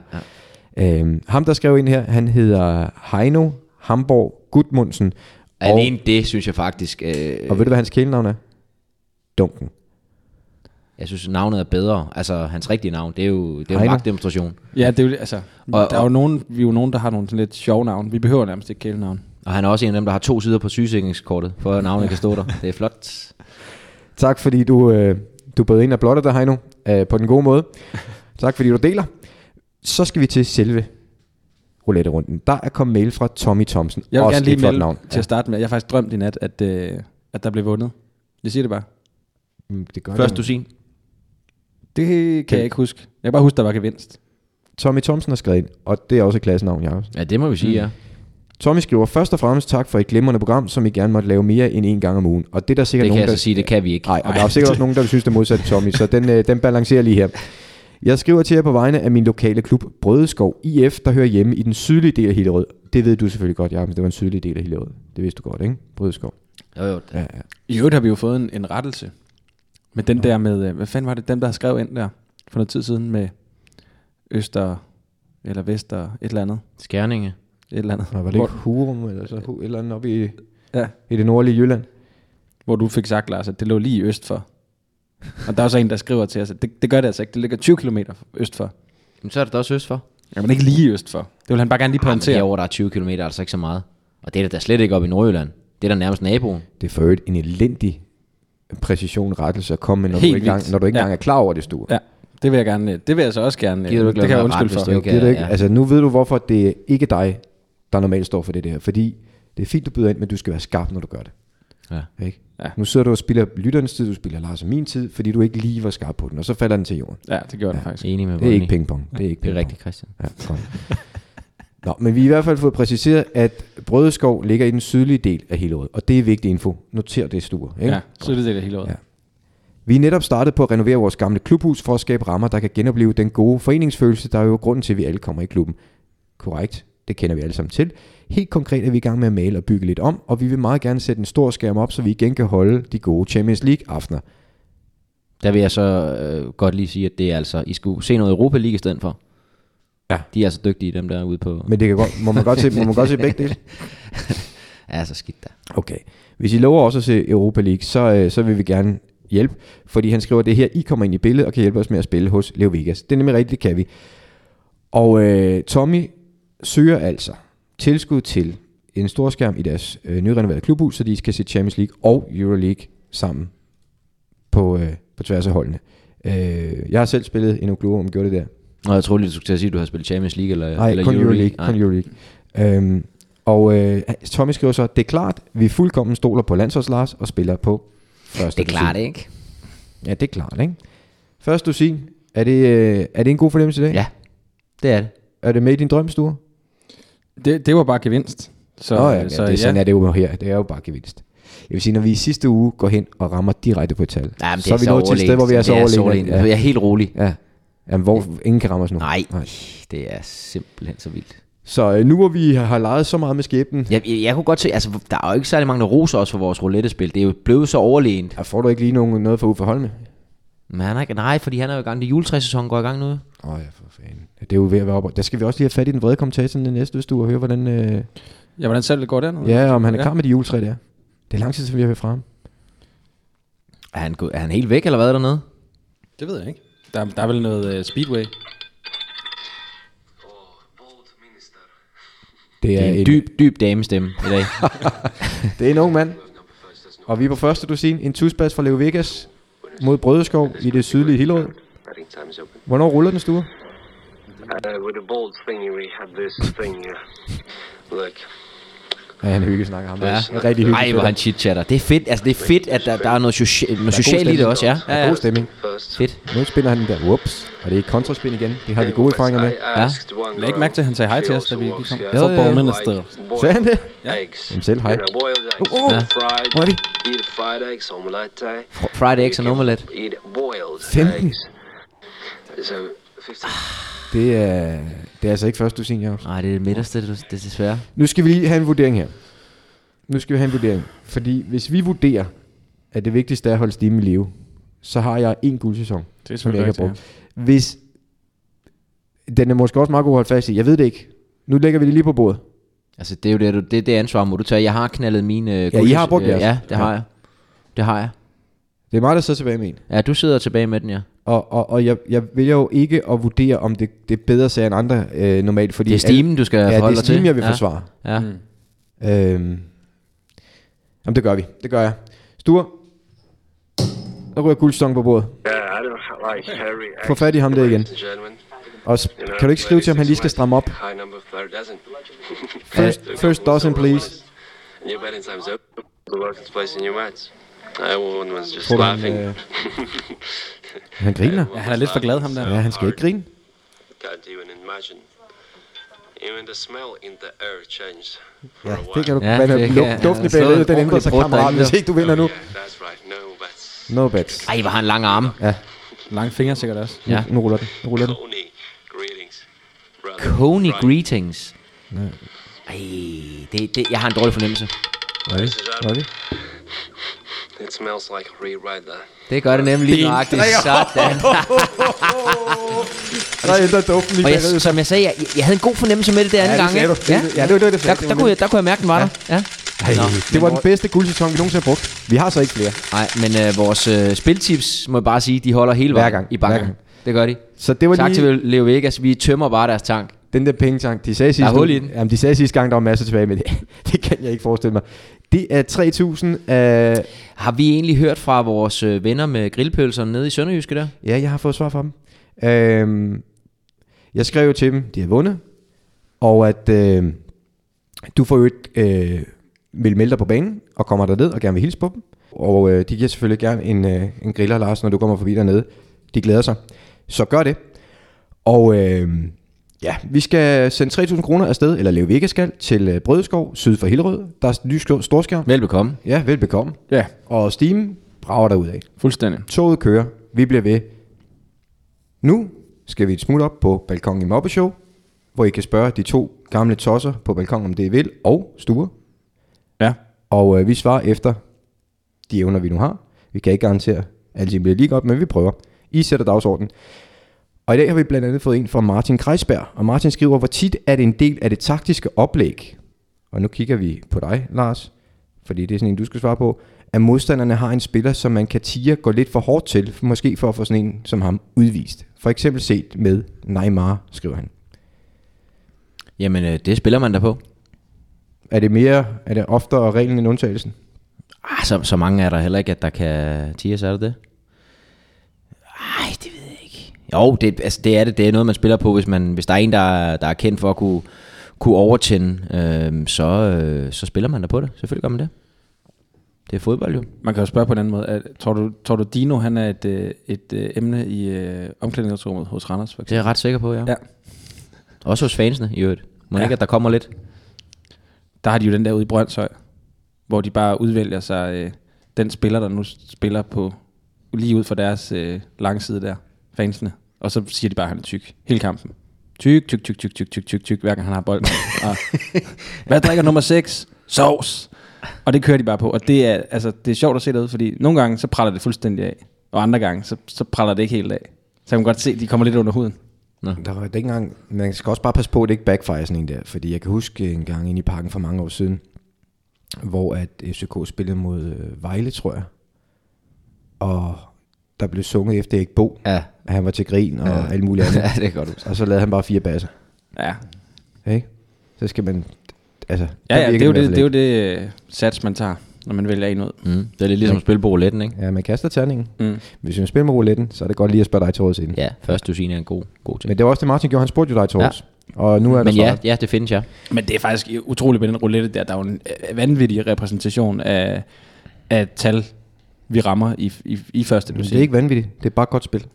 S3: ja.
S2: Øhm, ham, der skrev ind her, han hedder Heino Hamborg Gudmundsen. Og,
S3: Alene det, synes jeg faktisk... Øh,
S2: og ved du, hvad hans kælenavn er? Dunken.
S3: Jeg synes, navnet er bedre. Altså, hans rigtige navn, det er jo, det er jo en
S2: Heino.
S3: magtdemonstration.
S4: Ja, det er jo, altså,
S3: Og-
S4: og, der er jo nogen, vi er jo nogen, der har nogle sådan lidt sjove navne. Vi behøver nærmest ikke kælenavn.
S3: Og han er også en af dem, der har to sider på sygesikringskortet, for at navnet kan stå der. Det er flot.
S2: Tak, fordi du, øh, du bød ind og blottede dig, Heino, øh, på den gode måde. tak, fordi du deler. Så skal vi til selve roulette-runden. Der er kommet mail fra Tommy Thompson.
S4: Jeg vil
S2: Også
S4: gerne
S2: et
S4: lige
S2: flot
S4: melde
S2: navn.
S4: navn. til at starte med, jeg har faktisk drømt i nat, at, øh, at der blev vundet. Jeg siger det bare.
S2: Mm, Det gør
S3: Først
S2: det.
S3: du sin.
S4: Det kan jeg ikke huske. Jeg kan bare huske, der var gevinst.
S2: Tommy Thompson har skrevet ind, og det er også et klassenavn, Jacobsen.
S3: Ja, det må vi sige, ja.
S2: Mm. Tommy skriver, først og fremmest tak for et glimrende program, som I gerne måtte lave mere end en gang om ugen. Og det er der sikkert
S3: Det kan
S2: nogen,
S3: jeg
S2: der...
S3: så sige, det kan vi ikke.
S2: Nej, og der er jo sikkert også nogen, der vil synes det modsatte Tommy, så den, øh, den balancerer lige her. Jeg skriver til jer på vegne af min lokale klub, Brødeskov IF, der hører hjemme i den sydlige del af Hillerød. Det ved du selvfølgelig godt, Jacob, det var en sydlig del af Hillerød. Det vidste du godt, ikke? Brødeskov.
S3: Jo, jo.
S2: Ja, ja.
S4: I øvrigt har vi jo fået en, en rettelse. Men den der med, øh, hvad fanden var det, dem der har skrevet ind der for noget tid siden med Øster eller Vester, et eller andet.
S3: Skærninge.
S4: Et eller andet.
S2: Nå, var det ikke Hurum eller så Hu- et eller andet oppe i,
S4: Ja.
S2: i det nordlige Jylland?
S4: Hvor du fik sagt, Lars, at det lå lige øst for. Og der er også en, der skriver til os, at det, det gør det altså ikke. Det ligger 20 km øst for.
S3: Men så er det da også øst for.
S4: Ja, men ikke lige øst for. Det vil han bare gerne lige
S3: Ah, men
S4: pointere.
S3: herovre, der er 20 km, er altså ikke så meget. Og det er da slet ikke op i Nordjylland. Det er da nærmest naboen.
S2: Det er for øvrigt en elendig præcision rettelse at komme med, når
S4: Helt
S2: du ikke, engang,
S4: vildt.
S2: når du ikke
S4: Ja.
S2: engang er klar over det, Stue.
S4: Ja, det vil jeg gerne. øh, Det vil jeg så også gerne. øh,
S3: Gider du ikke lade
S4: det kan jeg
S3: være
S4: undskylde
S3: ret, hvis
S4: for.
S3: du ikke-
S2: Det er det
S3: Ja,
S2: ikke.
S3: ja.
S2: Altså, nu ved du, hvorfor det er ikke dig, der normalt står for det der. Fordi det er fint, du byder ind, men du skal være skarp, når du gør det.
S3: Ja.
S2: Ikke? Ja.
S4: Ja.
S2: Nu sidder du og spiller lytterens tid, du spiller Lars og min tid, fordi du ikke lige var skarp på den, og så falder den til jorden.
S4: Ja, det gjorde ja. det faktisk.
S3: Altså, Enig med
S2: Det er
S3: Ronny.
S2: ikke pingpong. Det er ikke
S3: Det er
S2: pingpong.
S3: rigtigt, Christian.
S2: Ja, godt. Nå, men vi har i hvert fald fået præciseret, at Brødeskov ligger i den sydlige del af Hillerød, og det er vigtig info. Noter det, Sture. Ikke?
S4: Ja, så er det det hele året.
S2: Ja. Vi er netop startet på at renovere vores gamle klubhus for at skabe rammer, der kan genopleve den gode foreningsfølelse, der er jo grunden til, at vi alle kommer i klubben. Korrekt, det kender vi alle sammen til. Helt konkret er vi i gang med at male og bygge lidt om, og vi vil meget gerne sætte en stor skærm op, så vi igen kan holde de gode Champions League-aftener.
S3: Der vil jeg så øh, godt lige sige, at det er altså, I skulle se noget Europa League i stedet for.
S2: Ja.
S3: De er altså dygtige, dem der er ude på...
S2: Men det kan godt, må, man godt se, må man godt se begge dele?
S3: Ja, så skidt der.
S2: Okay. Hvis I lover også at se Europa League, så, øh, så vil vi gerne hjælpe, fordi han skriver, det er her, I kommer ind i billedet og kan hjælpe os med at spille hos Leo Vegas. Det er nemlig rigtigt, det kan vi. Og øh, Tommy søger altså tilskud til en storskærm i deres øh, nyrenoverede klubhus, så de skal se Champions League og Euroleague sammen på, øh, på tværs af holdene. Øh, jeg har selv spillet en Okluo, om gjorde det der.
S3: Nå, jeg troede lige, du skulle til at sige, at du har spillet Champions League eller,
S2: Nej,
S3: eller
S2: kun Euroleague.
S3: Nej.
S2: Kun Euroleague. Øhm, og øh, Tommy skriver så, det er klart, vi fuldkommen stoler på landsholds Lars og spiller på første
S3: Det er klart,
S2: dusin."
S3: ikke?
S2: Ja, det er klart, ikke? Første dusin, er det, øh, er det en god fornemmelse i dag?
S3: Ja, det er det.
S2: Er det med i din drømstue?
S4: Det, det var bare gevinst. Så,
S2: Nå ja,
S4: så
S2: det, er sådan er det jo her. Det er jo bare gevinst. Jeg vil sige, når vi i sidste uge går hen og rammer direkte på et tal,
S3: Ja, men det
S2: så er vi nået til et sted, hvor vi er så overlegen.
S3: Ja. Jeg
S2: Ja.
S3: er helt rolig.
S2: ja. Jamen, hvor ingen kan ramme os nu.
S3: Nej, det er simpelthen så vildt.
S2: Så øh, nu hvor vi har leget så meget med skæbnen,
S3: Jeg, jeg, jeg kunne godt se, altså der er jo ikke særlig mange, der roser os for vores roulette-spil. Det er jo blevet så overlegent.
S2: ja. får du ikke lige nogen, noget for Uffe Holme?
S3: Men han er ikke, nej, fordi han er jo i gang. Det juletræsæson går i gang nu.
S2: Åh oh, ja, for fanden. Det er jo ved at være op. Der skal vi også lige have fat i den vrede kommentator den næste, hvis du og høre, hvordan... Øh,
S4: Ja, hvordan selv det går den?
S2: ja, om han er
S4: Ja.
S2: klar med de juletræ der. Det er lang tid, siden vi har hørt fra ham.
S3: Er han, gået- er han helt væk, eller hvad er dernede?
S4: Det ved jeg ikke. Der, der er vel noget uh, speedway.
S2: Det
S3: Det
S2: er
S3: er en dyb, dyb damestemme i dag.
S2: Det er en ung mand. Og vi er på første dusin. En tusbas fra Leo Vegas mod Brødeskov i det sydlige Hillerød.
S7: Betting time is open.
S2: Hvornår ruller den stue?
S7: Uh, with the bold thingy, we had this thing. Uh, look,
S2: Ja, han er hygge snakker ham. Ja.
S3: Ja.
S2: Rigtig hygge.
S3: Ej, hvor han chit-chatter. Det er fedt, altså det er fedt, at der, der er noget, socia- noget socialt i det også, ja.
S2: ja,
S3: ja,
S2: ja.
S3: ja.
S2: God stemning.
S7: first.
S3: Fedt.
S2: Nu spiller han den der. Whoops. Og det er kontraspil igen. Det har vi gode erfaringer med.
S7: Læg
S4: Lad ikke mærke til, at han sagde hej til os, da vi gik om.
S7: Ja,
S4: Football
S2: ja.
S4: Minister.
S2: Sagde han det?
S7: Ja.
S2: Jamen selv hej.
S7: Boiled eggs,
S2: Uh, uh. Ja.
S7: fried,
S2: Hvor er vi?
S7: Eat fried eggs, omelette.
S3: Fr- Fried eggs og nummerlet.
S7: Eat boiled
S2: 15.
S7: eggs. So, 15.
S2: Det er, det er altså ikke første dusin, Jacob.
S3: Nej, det er det midterste, det det er desværre.
S2: Nu skal vi lige have en vurdering her. Nu skal vi have en vurdering. Fordi hvis vi vurderer, at det vigtigste er at holde stimen i live, så har jeg en guldsæson,
S4: Det er
S2: som jeg ikke
S4: selvfølgelig
S2: har brugt. Hvis, den er måske også meget god at holde fast i. Jeg ved det ikke. Nu lægger vi det lige på bordet.
S3: Altså, det er jo det, du, det, det ansvar, må du tage. Jeg har knaldet mine øh,
S2: Ja, I har brugt
S3: øh,
S2: jeres.
S3: Ja, det har
S2: Ja.
S3: jeg. Det har jeg.
S2: Det er mig, der sidder tilbage med en.
S3: Ja, du sidder tilbage med den, ja.
S2: Og, og, og jeg, jeg vælger jo ikke at vurdere, om det, det er bedre sager end andre øh, normalt. Fordi
S3: Det er stimen, du skal
S2: alle, Ja,
S3: forholde
S2: det er
S3: dig til.
S2: stimen, jeg vil
S3: ja.
S2: forsvare.
S3: Ja.
S2: Mm. Øhm. Jamen, det gør vi. Det gør jeg. Sture. Der ryger guldstong på bordet.
S7: Yeah, I don't like hairy eggs.
S2: Få fat i ham der igen.
S7: ladies and gentlemen.
S2: Og sp- kan du ikke skrive til ham, han lige skal stramme op?
S7: High number third dozen.
S2: First, first dozen, please.
S7: And your betting time's up. Good luck in placing your bets. Everyone was just
S2: Tror du, han,
S7: laughing.
S2: øh, han griner.
S4: Ja, han er lidt for glad, ham der.
S2: Ja, han skal ikke grine.
S7: Can't even imagine. Even the smell in the air changed for
S2: Ja,
S7: a while.
S2: det kan du.
S3: Ja,
S2: Ja, men
S3: det kan-
S2: luk, duften i
S3: han har slået
S2: bagved,
S3: et
S2: den ændrer sig
S3: ordentligt brud
S2: kammerat,
S3: derinde.
S2: hvis ikke du vinder nu.
S7: Yeah, that's right. No bets.
S2: No bets.
S3: Ej, hvor har han lange arme.
S4: Lange fingre sikkert også.
S3: Ja.
S2: Nu ruller den. Nu ruller den.
S7: Coney, greetings. Brother.
S3: Coney
S7: Right.
S3: Greetings. Ej, det, det, jeg har en dårlig fornemmelse.
S7: Ladies and gentlemen,
S2: Okay.
S7: It smells like a rewrite there.
S3: Det gør det nemlig lige nøjagtigt. Sådan.
S2: Der ændrer duften lige
S3: Og jeg,
S2: bagved.
S3: som jeg sagde, jeg, jeg havde en god fornemmelse med det der anden
S2: det
S3: gang.
S2: sagde
S3: ikke?
S2: du. Det- ja, det var det, det-
S3: der,
S2: det var
S3: der, kunne jeg, der kunne jeg mærke, den var der. Ja.
S2: Det var den bedste guldsæson, vi nogensinde har brugt. Vi har så ikke flere.
S3: Nej, men øh, vores øh, spiltips, må jeg bare sige, de holder hele
S2: Hver
S3: vejen
S2: gang.
S3: i banken.
S2: Hver gang.
S3: Det gør de.
S2: Så det var
S3: tak
S2: lige
S3: til Leo Vegas. Vi tømmer bare deres tank.
S2: den der pengetank. De sagde sidste,
S3: hul i den.
S2: Jamen, de sagde sidste gang, der var masser tilbage, men det, det kan jeg ikke forestille mig. Det er 3.000 af...
S3: Har vi egentlig hørt fra vores øh, venner med grillpølserne nede i Sønderjyske der?
S2: Ja, jeg har fået svar fra dem. Øhm, jeg skrev jo til dem, de havde vundet, og at øh, du får jo ikke øh, vil melde dig på banen, og kommer derned og gerne vil hilse på dem. Og øh, de giver selvfølgelig gerne en, øh, en griller, Lars, når du kommer forbi dernede. De glæder sig. Så gør det. Og øh, ja, vi skal sende 3.000 kroner afsted, eller Leo Vega skal, til øh, Brødeskov, syd for Hillerød. Der er ny stor- storskærm.
S3: Velbekomme.
S2: Ja, velbekomme.
S4: Ja,
S2: Og Steam brager derudad.
S4: fuldstændig.
S2: Toget kører. Vi bliver ved. Nu skal vi et smut op på balkongen i Mobbeshow, hvor I kan spørge de to gamle tosser på balkongen, om det er vil og stuer.
S4: Ja.
S2: Og øh, vi svarer efter de evner, vi nu har. Vi kan ikke garantere, at alting bliver lige godt, men vi prøver. I sætter dagsordenen. Og i dag har vi blandt andet fået en fra Martin Kreisberg. Og Martin skriver, hvor tit er det en del af det taktiske oplæg? Og nu kigger vi på dig, Lars, fordi det er sådan en, du skal svare på. At modstanderne har en spiller, som man kan tire gå lidt for hårdt til, måske for at få sådan en som ham udvist. For eksempel set med Neymar, skriver han.
S3: Jamen, øh, det spiller man da på.
S2: Er det mere, er det oftere reglen end undtagelsen?
S3: Ah, så, så mange er der heller ikke, at der kan tiers, er der det? Ej, det ved jeg ikke. Jo, det, altså, det er det. Det er noget, man spiller på, hvis, man, hvis der er en, der, er- der er kendt for at kunne, kunne overtænde, øh, så, øh, så spiller man da på det. Selvfølgelig gør man det. Det er fodbold jo.
S4: Man kan jo spørge på en anden måde. Er, tror, du, tror du, Dino han er et, øh, et øh, emne i øh, omklædningsrummet hos Randers? For
S3: Det er jeg ret sikker på, ja.
S4: Ja.
S3: Også hos fansene i øvrigt. Må ja.
S4: Ja.
S3: ikke, at der kommer lidt?
S4: Der har de jo den der ude i Brøndshøj. hvor de bare udvælger sig øh, den spiller, der nu spiller på lige ud for deres øh, langside der, fansene. Og så siger de bare, at han er tyk. Hele kampen. Tyk, tyk, tyk, tyk, tyk, tyk, tyk, tyk, hver gang han har bolden. og, hvad drikker nummer 6? Sovs. Og det kører de bare på. Og det er, altså, det er sjovt at se derude, fordi nogle gange, så praller det fuldstændig af. Og andre gange, så, så praller det ikke helt af. Så man kan godt se, at de kommer lidt under huden.
S2: Der var ikke engang, man skal også bare passe på, at det ikke backfire sådan en der, fordi jeg kan huske en gang inde i parken for mange år siden, hvor at FCK spillede mod øh, Vejle, tror jeg, og der blev sunget efter Erik Bo,
S3: Ja.
S2: at han var til grin og ja. alt muligt andet,
S3: ja, det er godt.
S2: og så lavede han bare fire basser,
S4: Ja,
S2: ikke? Så skal man, altså, der
S4: ja, ja
S2: virker
S4: det, er
S2: i
S4: jo
S2: hvert
S4: det,
S2: fald
S4: det er jo det øh, sats, man tager, når man vælger en ud.
S3: Mm. Det er lidt ligesom at spille på rouletten, ikke?
S2: ikke. Ja, man kaster terningen.
S4: Mm.
S2: Hvis man spiller med rouletten, så er det godt lige at spørge dig til råds inden.
S3: Ja, første dusin er en god, god ting.
S2: Men det var også det, Martin gjorde, han spurgte jo dig til
S3: Ja.
S2: råds. Og nu er der
S3: Men ja,
S2: svaret.
S3: ja, det findes, ja.
S4: Men det er faktisk utroligt med den roulette der. Der er jo en øh, vanvittig repræsentation af, af tal, vi rammer i, i, i første
S2: Men
S4: musik.
S2: det er ikke vanvittigt. Det er bare et godt spil.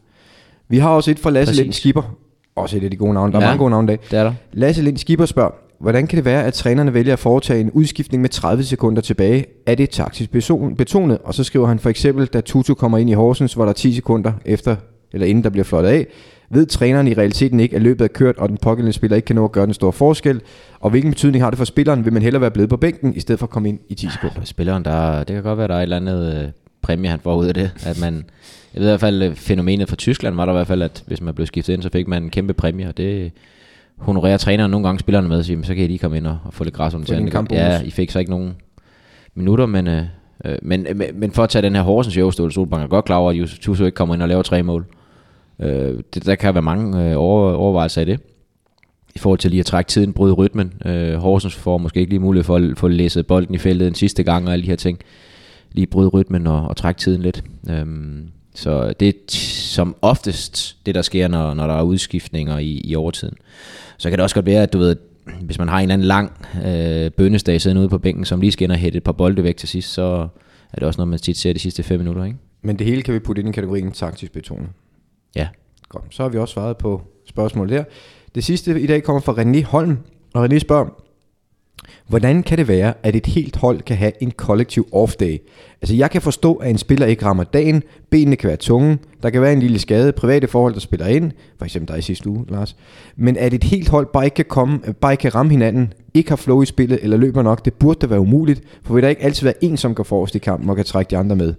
S2: Vi har også et fra Lasse
S3: Præcis.
S2: Lind Skipper. Også et af de gode navne. Der er
S3: Ja.
S2: mange gode navne i dag.
S3: Det er der.
S2: Lasse Lind Skipper spørger, hvordan kan det være, at trænerne vælger at foretage en udskiftning med 30 sekunder tilbage? Er det taktisk beson- betonet? Og så skriver han for eksempel, da Tutu kommer ind i Horsens, hvor der er 10 sekunder efter, eller inden der bliver flottet af, ved træneren i realiteten ikke, at løbet er kørt, og den pågældende spiller ikke kan nå at gøre den store forskel? Og hvilken betydning har det for spilleren? Vil man hellere være blevet på bænken, i stedet for at komme ind i 10 sekunder?
S3: For Spilleren, der, det kan godt være, der er et eller andet øh, præmie, han får ud af det. At man, jeg ved i hvert fald, øh, fænomenet fra Tyskland var der i hvert fald, at hvis man blev skiftet ind, så fik man en kæmpe præmie, og det honorerer træneren nogle gange spillerne med, at sige, "Men så kan I lige komme ind og, og få lidt græs under
S2: Få din
S3: tæerne.
S2: kampbonus.
S3: Ja, I fik så ikke nogen minutter, men, øh, øh, men, øh, men- men for at tage den her Horsens i Øvstål, Solbank er godt klar over, at Jus- Tuso ikke kommer ind og laver tre mål. Øh, det, der kan være mange øh, over, overvejelser i det. I forhold til lige at trække tiden, bryde rytmen. Øh, Horsens får måske ikke lige mulighed for at få læsset bolden i feltet en sidste gang og alle de her ting. Lige bryde rytmen og, og trække tiden lidt. Øhm, så det er t- som oftest det, der sker, når, når der er udskiftninger i, i overtiden. Så kan det også godt være, at du ved, hvis man har en eller anden lang øh, bønnesdag siddende ude på bænken, som lige skal ind og hætte et par bolde væk til sidst, så er det også noget, man tit ser de sidste fem minutter, ikke?
S2: Men det hele kan vi putte ind i kategorien taktisk betonet.
S3: Ja.
S2: Godt, så har vi også svaret på spørgsmålet der. Det sidste i dag kommer fra René Holm, og René spørger, hvordan kan det være, at et helt hold kan have en kollektiv off-day? Altså jeg kan forstå, at en spiller ikke rammer dagen, benene kan være tunge, der kan være en lille skade, private forhold, der spiller ind, for eksempel dig i sidste uge, Lars. Men at et helt hold bare ikke kan, komme, bare ikke kan ramme hinanden, ikke har flow i spillet eller løber nok, det burde da være umuligt, for vil der ikke altid være en, som går forrest i kampen og kan trække de andre med?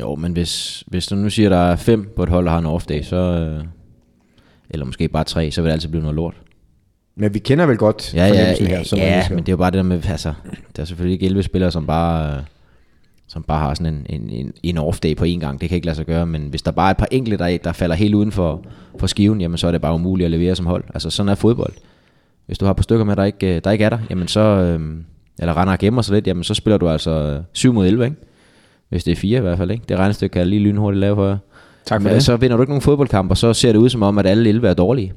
S3: Jo, men hvis, hvis du nu siger, at der er fem på et hold, der har en off day, så, øh, eller måske bare tre, så vil det altid blive noget lort.
S2: Men vi kender vel godt
S3: Ja, ja,
S2: fornemmelsen her.
S3: ja,
S2: som
S3: ja
S2: mennesker.
S3: men det er jo bare det der med, altså, der er selvfølgelig ikke 11 spillere, som bare, øh, som bare har sådan en, en, en, en off day på én gang. Det kan ikke lade sig gøre, men hvis der bare er et par enkelte, der, der falder helt uden for, for skiven, jamen så er det bare umuligt at levere som hold. Altså sådan er fodbold. Hvis du har et par stykker med, der ikke, øh, der ikke er der, jamen så, øh, eller render og gemmer sig lidt, jamen så spiller du altså øh, 7 mod 11, ikke? Hvis det er fire i hvert fald, ikke? Det regnestykke kan jeg lige lynhurtigt lave for jer.
S4: Tak for
S3: Men
S4: det.
S3: så vinder du ikke nogen fodboldkamp, og så ser det ud som om, at alle 11 er dårlige.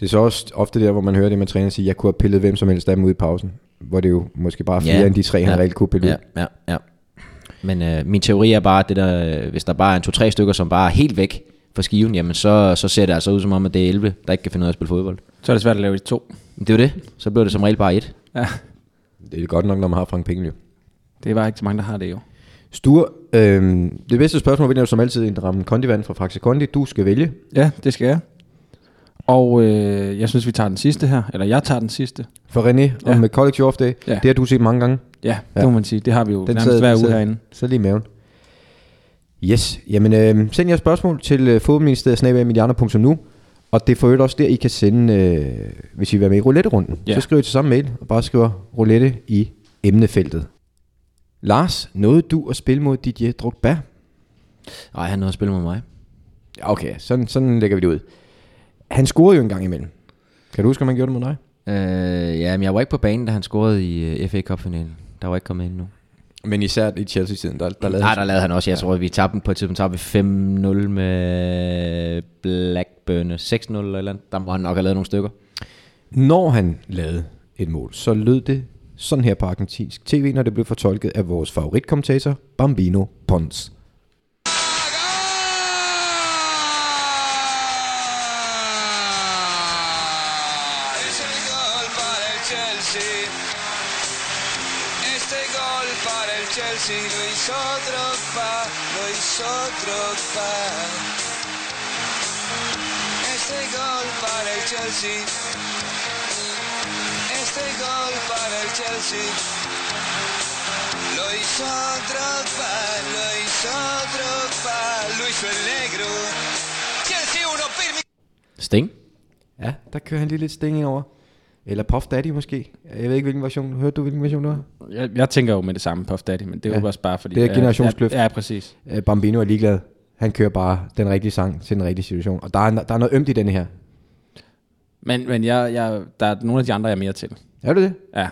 S2: Det er så også ofte der, hvor man hører det med træner sige, jeg kunne have pillet hvem som helst af dem ud i pausen. Hvor det jo måske bare er flere ja. end de tre, han reelt kunne pille
S3: ja,
S2: ud.
S3: ja, ja. Men øh, min teori er bare, at det der, øh, hvis der bare er en to-tre stykker, som bare er helt væk fra skiven, jamen så, så ser det altså ud som om, at det er 11, der ikke kan finde ud af at spille fodbold.
S4: Så er det svært at lave i to.
S3: Men det er jo det. Så bliver det som regel bare et.
S4: Ja.
S2: Det er godt nok, når man har Frank Pengel. jo.
S4: Det er bare ikke så mange, der har det jo.
S2: Sture, øhm, det bedste spørgsmål vinder jo som altid en ramme kondivand fra Faxe Kondi. Du skal vælge.
S4: Ja, det skal jeg. Og øh, jeg synes, vi tager den sidste her. Eller jeg tager den sidste.
S2: For René,
S4: Ja.
S2: om ja. Collective Off Day.
S4: Ja.
S2: Ja. Det har du set mange gange.
S4: Ja,
S2: Ja.
S4: ja. det må man sige. Det har vi jo den nærmest
S2: sad-
S4: hver uge
S2: sad-
S4: herinde.
S2: sad lige i maven. Yes, jamen øh, send jeres spørgsmål til øh, fodboldministeriet.nu og det er for øvrigt også der, I kan sende, øh, hvis I vil være med i roulette-runden.
S4: Ja.
S2: Så skriver I til samme mail, og bare skriver roulette i emnefeltet. Lars, nåede du at spille mod Didier Drogba?
S3: Nej, han nåede at spille mod mig.
S2: Ja, Okay, sådan, sådan lægger vi det ud. Han scorede jo en gang imellem. Kan du huske, om han gjorde det mod dig?
S3: Øh, ja, men jeg var ikke på banen, da han scorede i øh, FA Cup-finalen. Der var ikke kommet ind nu.
S2: Men især i Chelsea-tiden, der, der
S3: Nej, der lavede han også. Jeg tror, vi tabte den på et tidspunkt. Tabte vi 5-0 med Blackburn. 6-0 eller et eller andet. Der må han nok have lavet nogle stykker.
S2: Når han lavede et mål, så lød det sådan her på argentinsk tv, når det blev fortolket af vores favoritkommentator, Bambino Pons.
S8: Es el gol para el Chelsea. Es
S6: Este gol para el Chelsea lo hizo Drogba, lo hizo Drogba. Este gol para el Chelsea. Este gol para el Chelsea. Lo hizo Drogba, lo hizo Drogba, lo hizo el negro. Chelsea 1, Birmingham.
S3: Sting?
S2: Ja, der kører han lige lidt sting over. Eller Puff Daddy måske. Jeg ved ikke, hvilken version. Hørte du, hvilken version det var?
S4: Jeg, jeg tænker jo med det samme Puff Daddy, men det er
S2: Ja.
S4: jo også bare fordi...
S2: Det er
S4: ja,
S2: generationskløft.
S4: Ja, ja, præcis.
S2: Øh, Bambino er ligeglad. Han kører bare den rigtige sang til den rigtige situation. Og der er, der er noget ømt i den her.
S4: Men, men jeg, jeg, der er nogle af de andre, jeg er mere til.
S2: Er du det?
S4: Ja.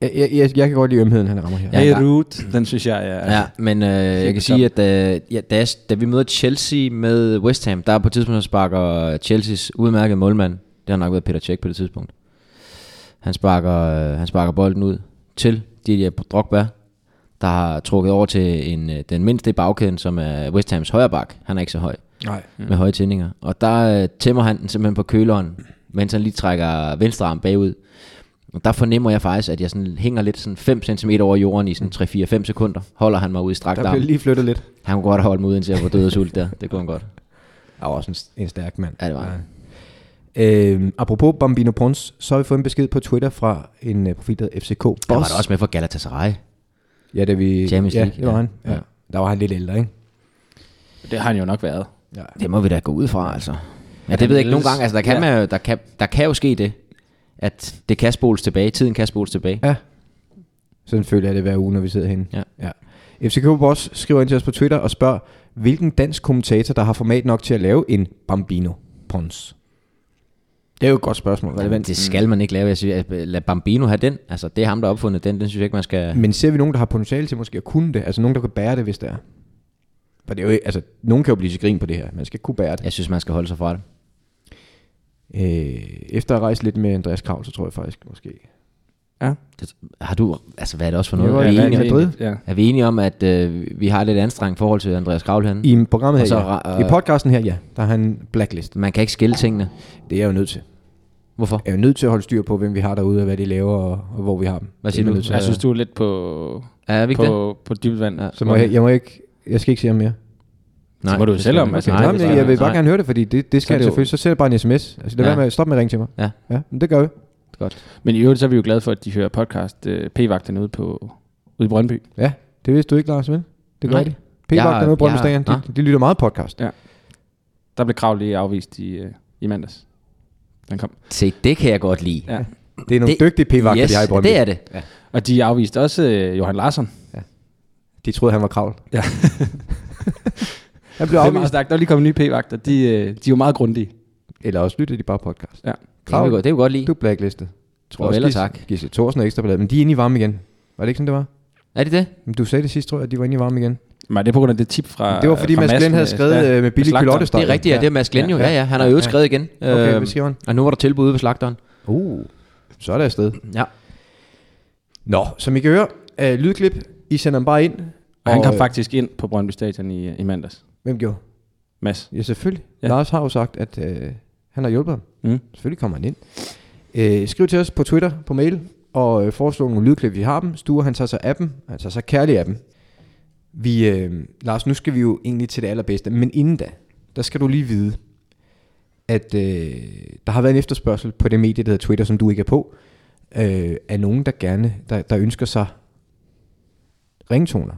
S2: Jeg, jeg, jeg, jeg kan godt lide ømheden, han rammer her.
S4: Ja, hey,
S3: der-
S4: Root, den synes jeg er...
S3: Ja, men øh, jeg kan sige, at øh, ja, da, jeg- da vi møder Chelsea med West Ham, der er på et tidspunkt, der sparker Chelseas udmærkede målmand. Det har nok været Peter Cech på det tidspunkt. Han sparker, øh, han sparker bolden ud til Didier Drogba, der har trukket over til en, øh, den mindste i bagkæden, som er West Hams højre bak. Han er ikke så høj.
S2: Nej.
S3: mm. med høje tændinger. Og der øh, tæmmer han den simpelthen på køleren, mens han lige trækker venstre arm bagud. Og der fornemmer jeg faktisk, at jeg sådan hænger lidt sådan 5 cm over jorden i sådan 3-4-5 sekunder. Holder han mig ud i strakt
S2: Der
S3: arm.
S2: blev lige flyttet lidt.
S3: Han kunne godt have holdt mig ud, indtil jeg var død og sult der. Det kunne han godt.
S2: Der var også en, en stærk mand.
S3: Ja, det var han.
S2: Øhm, apropos Bambino Pons, så har vi fået en besked på Twitter fra en uh, profil, der hedder FCK Boss.
S3: Der var der også med for Galatasaray.
S2: Ja, da vi...
S3: Champions
S2: ja,
S3: League,
S2: det var
S3: ja.
S2: han. Ja.
S3: Ja.
S2: Der var han lidt ældre, ikke?
S4: Det har han jo nok været.
S3: Det må vi da gå ud fra, altså. Ja, det ved jeg ikke nogen
S4: ellers-
S3: gange. Altså, der kan,
S4: Ja.
S3: man, jo- der, kan, der kan jo ske det, at det kan spoles tilbage. Tiden kan spoles tilbage.
S2: Ja. Sådan føler jeg det hver uge, når vi sidder herinde.
S3: Ja.
S2: ja. FCK Boss skriver ind til os på Twitter og spørger, hvilken dansk kommentator, der har format nok til at lave en Bambino Pons? Det er jo et godt spørgsmål, relevant.
S3: Det skal man ikke lave. Jeg siger, at øh, lad Bambino have den. Altså, det er ham, der har opfundet den. Den synes jeg ikke, man skal...
S2: Men ser vi nogen, der har potentiale til måske at kunne det? Altså nogen, der kan bære det, hvis det er? For det er jo, ikke- altså, nogen kan jo blive til grin på det her. Man skal kunne bære det.
S3: Jeg synes, man skal holde sig fra det.
S2: Øh, efter at rejse lidt med Andreas Krav, så tror jeg faktisk måske.
S3: det har du, altså hvad er det også for
S2: Jeg var
S3: noget?
S2: i
S3: Er vi,
S2: Real
S3: enige,
S2: Madrid.
S3: om-
S2: Madrid.
S4: Ja.
S3: er vi enige om, at øh, vi har et lidt anstrengt forhold til Andreas Kravl herinde?
S2: I programmet her,
S3: Og så
S2: ja.
S3: ra-
S2: I podcasten her, ja. Der er han blacklistet.
S3: Man kan ikke skille tingene.
S2: Det er jeg jo nødt til.
S3: Hvorfor?
S2: Jeg er jo nødt til at holde styr på, hvem vi har derude, og hvad de laver, og, og hvor vi har dem.
S3: Hvad siger
S2: Det er
S3: du?
S2: nødt til.
S4: Altså, Jeg synes, du er lidt på,
S3: Er vi ikke det?
S4: på, på dybt vand.
S3: Ja.
S2: Så må jeg, jeg, må ikke, jeg skal ikke sige ham mere.
S4: må du jo
S3: det
S4: selv
S3: skal
S4: om,
S3: man
S4: altså.
S3: ikke.
S2: Nej,
S4: Nej,
S2: Nå, men
S4: det
S2: jeg,
S4: skal
S2: jeg vil
S4: jeg-
S2: bare
S4: nej.
S2: gerne høre det, fordi det, det skal
S4: er
S2: jeg
S4: det jo-
S2: selvfølgelig. Så send bare en sms. Altså, det
S3: Ja.
S2: ja. med, stop med at ringe til mig.
S3: Ja.
S2: ja men det gør vi.
S4: Men i øvrigt så er vi jo glade for, at de hører podcast øh, P-vagten ude, på, ude i Brøndby.
S2: Ja, det vidste du ikke, Lars, vel? Det gør
S3: Nej.
S2: de. P-Vagten og
S3: Jeg-
S2: Brøndby
S3: jeg-
S2: Stadion, de,
S3: Nå.
S2: de lytter meget podcast.
S4: Ja. Der blev krav lige afvist i, øh, i mandags. Den kom.
S3: Se, det kan jeg godt lide.
S4: Ja.
S2: Det er nogle
S3: Det-
S2: dygtige P-vagter,
S3: yes,
S2: de har i Brøndby.
S3: det er det.
S4: Og de afviste også øh, Johan Larsson.
S2: De troede, han var kravl.
S4: Ja.
S2: han blev
S4: Det er meget
S2: afvist.
S4: stærkt. Der er lige kommet nye P-vagter. De, øh, de er jo meget grundige.
S2: Eller også lytter de bare podcast.
S4: Ja.
S3: Det kan vi godt, det kan vi godt lide.
S2: Du er blacklistet. Tror
S3: Og
S2: også,
S3: vel og
S2: Gis-
S3: tak.
S2: Gisle Thorsen er ekstra bladet, men de er inde i varme igen. Var det ikke sådan, det var?
S3: Er det det?
S2: Men du sagde det sidste, tror jeg, at de var inde i varme igen.
S4: Men det er på grund af det tip fra
S2: Det var, fordi
S4: fra
S2: Mads
S4: Madsen,
S2: Glenn havde
S4: øh,
S2: skrevet, øh, med Billy
S4: slagteren.
S2: Kylotte står
S3: Det er rigtigt, ja. Det er Mads Glenn jo. Ja, ja. Han har jo skrevet igen.
S2: Okay,
S3: Øhm,
S2: hvad siger han?
S3: og nu var der tilbud ved slagteren.
S2: Uh, så er der afsted.
S3: Ja.
S2: Nå, som I kan høre, øh, lydklip, I sender dem bare ind.
S4: Og han
S2: Og,
S4: kom
S2: øh,
S4: faktisk ind på Brøndby Stadion i, i mandags.
S2: Hvem gjorde?
S4: Mads.
S2: Ja, selvfølgelig. Ja.
S4: Ja.
S2: Lars har jo sagt, at øh, han har hjulpet ham.
S4: Mm.
S2: Selvfølgelig kommer han ind. Øh, skriv til os på Twitter, på mail, og øh, foreslå nogle lydklip, vi har dem. Sture, han tager sig af dem. Han tager sig kærlig af dem. Vi, øh, Lars, nu skal vi jo egentlig til det allerbedste. Men inden da, der skal du lige vide, at øh, der har været en efterspørgsel på det medie, der hedder Twitter, som du ikke er på, øh, af nogen, der gerne, der, der ønsker sig ringtoner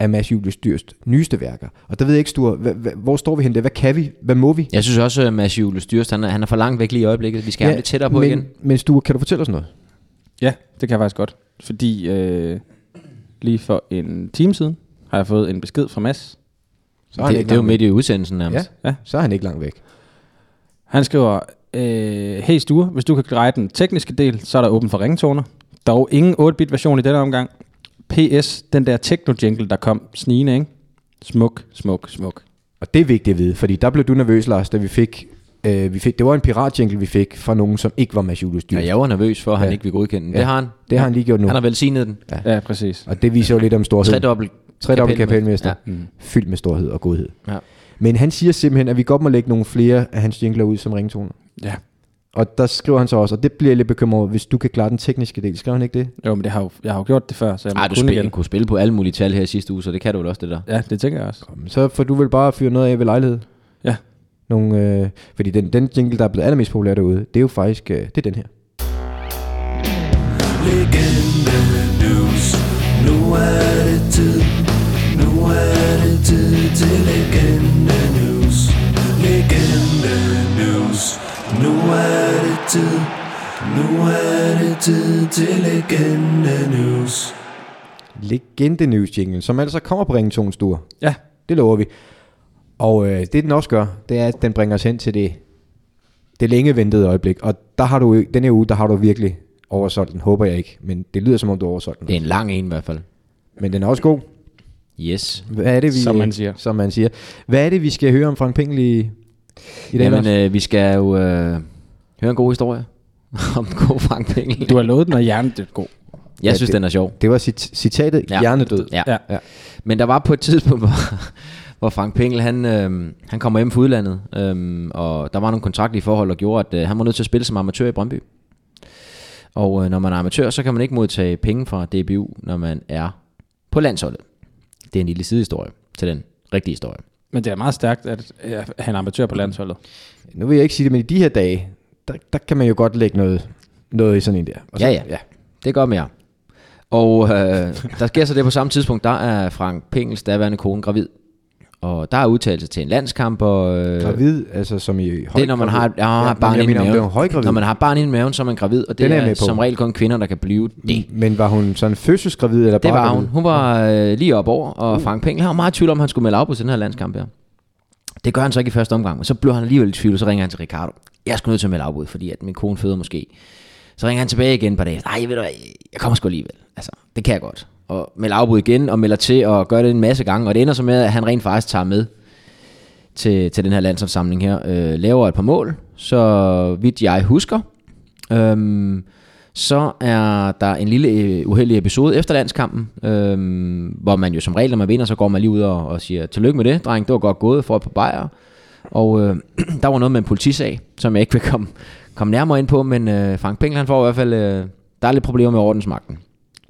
S2: af Mads Julius Dyrst nyeste værker. Og der ved jeg ikke, Sture, hva- hva- hvor står vi henne der? Hvad kan vi? Hvad må vi?
S3: Jeg synes også, at Mads Jules Dyrst, han er, han er for langt væk lige i øjeblikket. Vi skal have ham lidt tættere på
S2: men,
S3: igen.
S2: Men Sture, kan du fortælle os noget?
S4: Ja, det kan jeg faktisk godt. Fordi øh, lige for en time siden har jeg fået en besked fra Mads.
S2: Så er, han
S3: Det,
S2: ikke
S3: det er jo
S2: langt væk.
S3: midt i udsendelsen nærmest.
S2: Ja,
S4: Ja.
S2: så er han ikke langt væk.
S4: Han skriver, øh, hey Sture, hvis du kan greje den tekniske del, så er der åben for ringtoner. Dog ingen 8-bit version i denne omgang. PS, den der techno-jingle, der kom snigende, ikke? Smuk, smuk, smuk.
S2: Og det er vigtigt at vide, fordi der blev du nervøs, Lars, da vi fik... Øh, vi fik det var en piratjingle, vi fik fra nogen, som ikke var Mads Julius
S3: Ja,
S2: Dyrst.
S3: jeg var nervøs for, at han
S2: Ja.
S3: ikke ville godkende den.
S2: Ja.
S3: Det har han.
S2: Det har han lige gjort nu.
S3: Han har velsignet den.
S4: Ja, ja præcis.
S2: Og det viser jo lidt om storhed.
S3: Tredobbelt
S2: Tredobbelt kapelmester.
S3: Ja. Mm.
S2: Ja. Fyldt med storhed og godhed.
S3: Ja.
S2: Men han siger simpelthen, at vi godt må lægge nogle flere af hans jingler ud som ringtoner.
S4: Ja.
S2: Og der skriver han så også, og det bliver jeg lidt bekymret over, hvis du kan klare den tekniske del. Skrev han ikke det?
S4: Jo, men det har jo, jeg har jo gjort det før, så jeg må
S3: Ej, Ah, du
S4: kunne
S3: spil,
S4: igen.
S3: kunne spille på alle mulige tal her i sidste uge, så det kan du vel også, det der.
S4: Ja, det tænker jeg også.
S2: Jamen, Så får du vel bare fyre noget af ved lejlighed.
S4: Ja.
S2: Nogle, øh, fordi den, den jingle, der er blevet allermest populær derude, det er jo faktisk, øh, det er den her. Legende News jingle, som altså kommer på ringtonsstuer.
S4: Ja,
S2: Det lover vi. Og øh, det den også gør, det er, at den bringer os hen til det, det længe ventede øjeblik. Og der har du, den her uge, der har du virkelig oversolgt den. Håber jeg ikke, men det lyder som om du har oversolgt den.
S3: Det er en lang en i hvert fald.
S2: Men den er også god.
S3: Yes.
S2: Hvad er det, vi,
S4: Som man siger.
S2: Som man siger. Hvad er det, vi skal høre om Frank Pengel i, i dag?
S3: Jamen,
S2: Jamen,
S3: øh, vi skal jo øh, høre en god historie om den gode Frank Pengel.
S4: du har lovet den, og hjernen det er god.
S3: Jeg
S2: Ja,
S3: synes,
S2: det-
S3: den er sjov.
S2: det var cit- citatet, ja. hjernedød.
S3: Ja.
S4: Ja.
S2: Ja.
S3: Men der var på et tidspunkt, hvor, hvor Frank Pengel, han, øh, han kommer hjem fra udlandet, øh, og der var nogle kontraktlige forhold, og gjorde, at øh, han var nødt til at spille som amatør i Brøndby. Og øh, når man er amatør, så kan man ikke modtage penge fra DBU, når man er på landsholdet. Det er en lille sidehistorie til den rigtige historie.
S4: Men det er meget stærkt, at øh, han er amatør på landsholdet.
S2: Nu vil jeg ikke sige det, men i de her dage, der, der kan man jo godt lægge noget, noget i sådan en der. Og
S3: Ja, ja.
S2: ja.
S3: Det gør mere. Og øh, der sker så det på samme tidspunkt, der er Frank Pengels daværende kone gravid. Og der er udtalelse til en landskamp, og... Øh,
S2: Gravid, altså som i høj
S3: Det er, når man har, ja, har barn
S2: jeg
S3: i
S2: mener, om
S3: maven.
S2: det var højgravid.
S3: Når man har barn i maven, så er man gravid, og det
S2: Den er
S3: er,
S2: jeg med på. Mm.
S3: som regel kun kvinder, der kan blive det.
S2: Men var hun sådan fødselsgravid eller
S3: Det
S2: bare
S3: var hun.
S2: gravid?
S3: Hun var øh, lige op over, og uh. Frank Pengel har meget tvivl om, at han skulle melde afbud til den her landskamp her. Det gør han så ikke i første omgang, men så blev han alligevel i tvivl, og så ringer han til Ricardo. Jeg skulle nødt til at melde afbud, fordi at min kone føder måske. Så ringer han tilbage igen på dagen. Nej, ved du hvad, jeg kommer sgu alligevel. Altså, det kan jeg godt. Og melder afbud igen, og melder til, og gør det en masse gange. Og det ender så med, at han rent faktisk tager med til, til den her landsopsamling her. Øh, laver et par mål, så vidt jeg husker. Øhm, så er der en lille øh, uheldig episode efter landskampen, øhm, hvor man jo som regel, når man vinder, så går man lige ud og, og siger, tillykke med det, dreng, det var godt gået, for et par bajer. Og øh, der var noget med en politisag, som jeg ikke vil komme, komme nærmere ind på, men øh, Frank Pengel, han får i hvert fald, øh, der er lidt problemer med ordensmagten.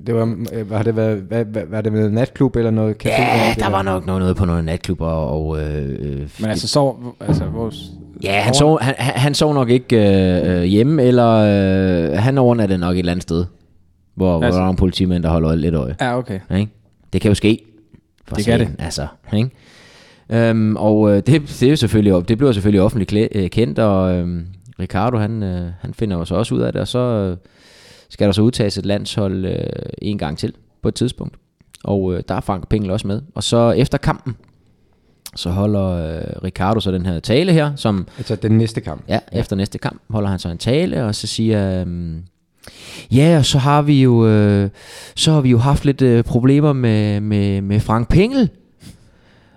S2: Det var, øh, har det været, hvad, hvad, var det med en natklub eller noget café?
S3: Ja,
S2: eller-
S3: der var nok noget, noget på nogle natklubber, og øh, øh,
S4: Men altså, så, altså vores,
S3: Ja, han sov, han, han han sov nok ikke øh, øh, hjemme, eller øh, han overnattede nok et eller andet sted, hvor, altså.
S4: Altså-
S3: hvor der er en politimænd, der holder øje- lidt øje.
S4: Ja, okay.
S3: Ikke? Det kan jo ske. For
S4: Det kan
S3: satan, Altså, ikke? Øhm, og øh, det, det, er jo selvfølgelig, op- det bliver selvfølgelig offentligt klæ, øh, kendt, og øh, Ricardo han, øh, han finder jo så også ud af det, og så øh, skal der så udtages et landshold øh, en gang til på et tidspunkt. Og øh, der er Frank Pengel også med. Og så efter kampen, så holder øh, Ricardo så den her tale her, som
S2: Altså den næste kamp.
S3: Ja, efter næste kamp holder han så en tale, og så siger øhm, ja, og så har vi jo øh, så har vi jo haft lidt øh, problemer med, med, med Frank Pengel.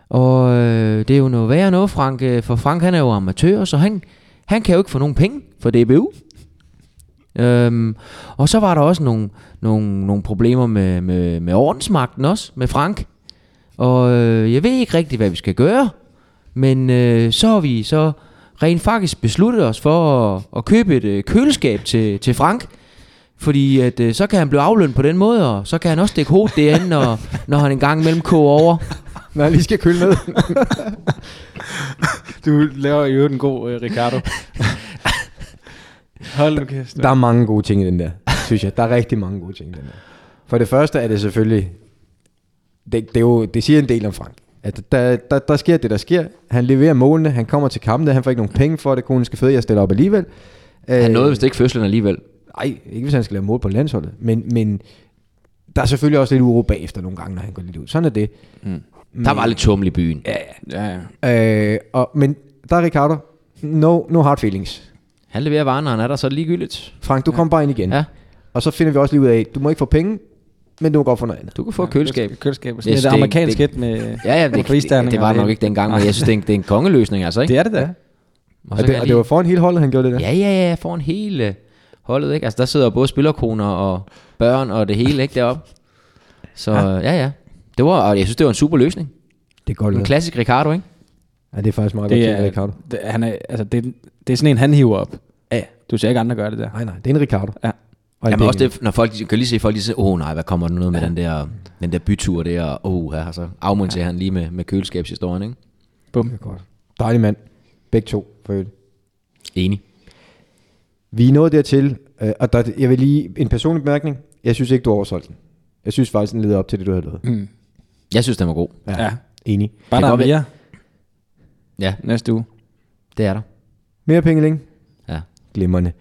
S3: Og øh, det er jo noget værre noget, Frank, øh, for Frank han er jo amatør, så han, han kan jo ikke få nogen penge for DBU. Øhm, og så var der også nogle, nogle, nogle problemer med, med, med ordensmagten også, med Frank. Og øh, jeg ved ikke rigtig, hvad vi skal gøre. Men øh, så har vi så rent faktisk besluttet os for at, at købe et øh, køleskab til, til Frank. Fordi at, øh, så kan han blive aflønnet på den måde, og så kan han også stikke hovedet derinde, når, når han en gang imellem koger over.
S2: Når jeg lige skal køle med.
S4: Du laver jo en god øh, Ricardo. Hold nu kæft.
S2: der er mange gode ting i den der, synes jeg. Der er rigtig mange gode ting i den der. For det første er det selvfølgelig, det, det, er jo, det siger en del om Frank. At der, der, der sker det, der sker. Han leverer målene, han kommer til kampene, han får ikke nogen penge for det, konen skal føde, jeg stiller op alligevel.
S3: Han nåede vist ikke fødslen alligevel.
S2: Nej, ikke hvis han skal lave mål på landsholdet. Men, men der er selvfølgelig også lidt uro bagefter nogle gange, når han går lidt ud. Sådan er det.
S3: Der var lidt tummel i byen. Ja.
S4: Ja, ja.
S2: Øh, og, men der er Ricardo. No, no hard feelings.
S3: Han leverer varen, og han er der så ligegyldigt.
S2: Frank, du ja. kom bare ind igen.
S3: Ja,
S2: Og så finder vi også lige ud af, du må ikke få penge, men du må godt få noget andet.
S3: du kan få et køleskab.
S4: Køleskab. Sådan
S3: synes,
S4: et
S3: det er en-
S4: amerikansk
S3: det-
S4: et med
S3: Ja, ja,
S4: med
S3: det, det,
S4: pristerninger
S3: det var
S4: og
S3: det nok
S4: hele.
S3: ikke dengang, men jeg synes, det er en, det er en kongeløsning altså, ikke?
S4: Det er det da.
S3: og
S2: Og,
S3: så
S2: det, og det var foran hele holdet, han gjorde det der.
S3: Ja, ja, ja, foran hele holdet, ikke? Altså, der sidder både spillerkoner og børn og det hele, ikke, deroppe. Så ja, ja. Det var, og jeg synes, det var en super løsning.
S2: Det er godt
S3: En
S2: lavet.
S3: klassisk Ricardo, ikke?
S2: Ja, det er faktisk meget godt
S4: Det
S2: tænkt, af
S4: er,
S2: Ricardo.
S4: det, han er, altså, det, er- det er sådan en, han hiver op. Ja. Du ser ikke andre gøre det der.
S2: Nej, nej, det er en Ricardo.
S4: Ja.
S2: Og en
S3: Jamen også
S2: Daniel.
S3: det, når folk de kan lige se, folk lige siger, åh oh, nej, hvad kommer der nu med den der, den der bytur der, og oh, her, så afmonterer han lige med, med køleskabshistorien, ikke?
S4: Bum.
S2: Godt. Dejlig mand. Begge to, for øvrigt.
S3: Enig.
S2: Vi er nået dertil, øh, og der, jeg vil lige en personlig bemærkning. Jeg synes ikke, du oversolgte den. Jeg synes faktisk, den leder op til det, du havde lavet. Mm.
S3: Jeg synes, den var god.
S4: Ja.
S2: Enig.
S4: Bare
S3: kan
S4: der er
S3: godt være-
S4: mere
S3: Ja,
S4: næste uge.
S3: det er der.
S2: Mere pengeling.
S3: Ja.
S2: Glimrende.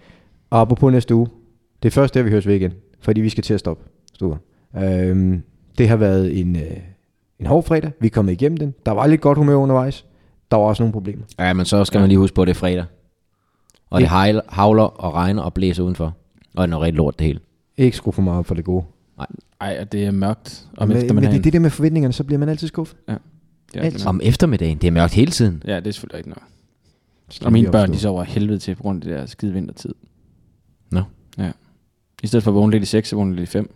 S2: Og apropos næste uge. Det er først der, vi høres ved igen. Fordi vi skal til at stoppe. Stuer. Øhm, det har været en, øh, en hård fredag. Vi er kommet igennem den. Der var lidt godt humør undervejs. Der var også nogle problemer.
S3: Ja, men så skal man lige huske på, at det er fredag. Og det hejl- havler og regner og blæser udenfor. Og det er noget rigtig lort det hele.
S2: Ikke skrue for meget op for det gode.
S4: Ej, og det er mørkt
S2: men,
S4: om
S2: men det
S4: eftermiddagen.
S2: er det der med forventningerne, så bliver man altid skuffet.
S4: ja, det er mørkt.
S3: Om eftermiddagen, det er mørkt hele tiden.
S4: ja, det er selvfølgelig ikke noget.
S2: Skal
S4: Og
S2: vi
S4: mine børn,
S2: opstå.
S4: de sover af helvede til på grund af det der skide vintertid.
S3: Nå.
S4: Ja. I stedet for at vågne lidt i 6, så vågne lidt i 5.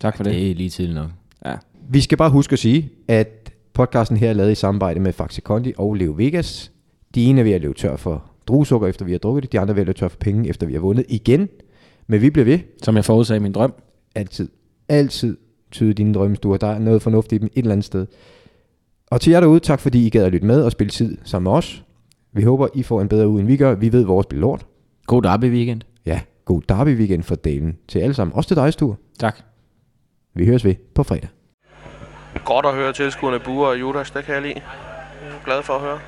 S4: Tak for det.
S3: Det er lige tidligt nok.
S4: Ja.
S2: Vi skal bare huske at sige, at podcasten her er lavet i samarbejde med Faxe Kondi og Leo Vegas. De ene er ved at løbe tør for druesukker, efter vi har drukket det. De andre er ved at løbe tør for penge, efter vi har vundet igen. Men vi bliver ved.
S4: Som jeg forudsagde i min drøm.
S2: Altid. Altid tyde dine drømmestuer. Der er noget fornuftigt i dem et eller andet sted. Og til jer derude, tak fordi I gad at lytte med og spille tid sammen med os. Vi håber, I får en bedre uge, end vi gør. Vi ved, vores bliver lort.
S3: God derby weekend.
S2: Ja, god derby weekend for delen til alle sammen. Også til dig, Sture.
S4: Tak.
S2: Vi høres ved på fredag.
S8: Godt at høre tilskuerne Bure og Judas, det kan jeg lide. Jeg er glad for at høre.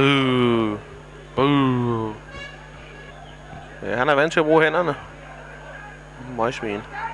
S8: Øh. Øh. Ja, han er vant til at bruge hænderne. Møgsvin.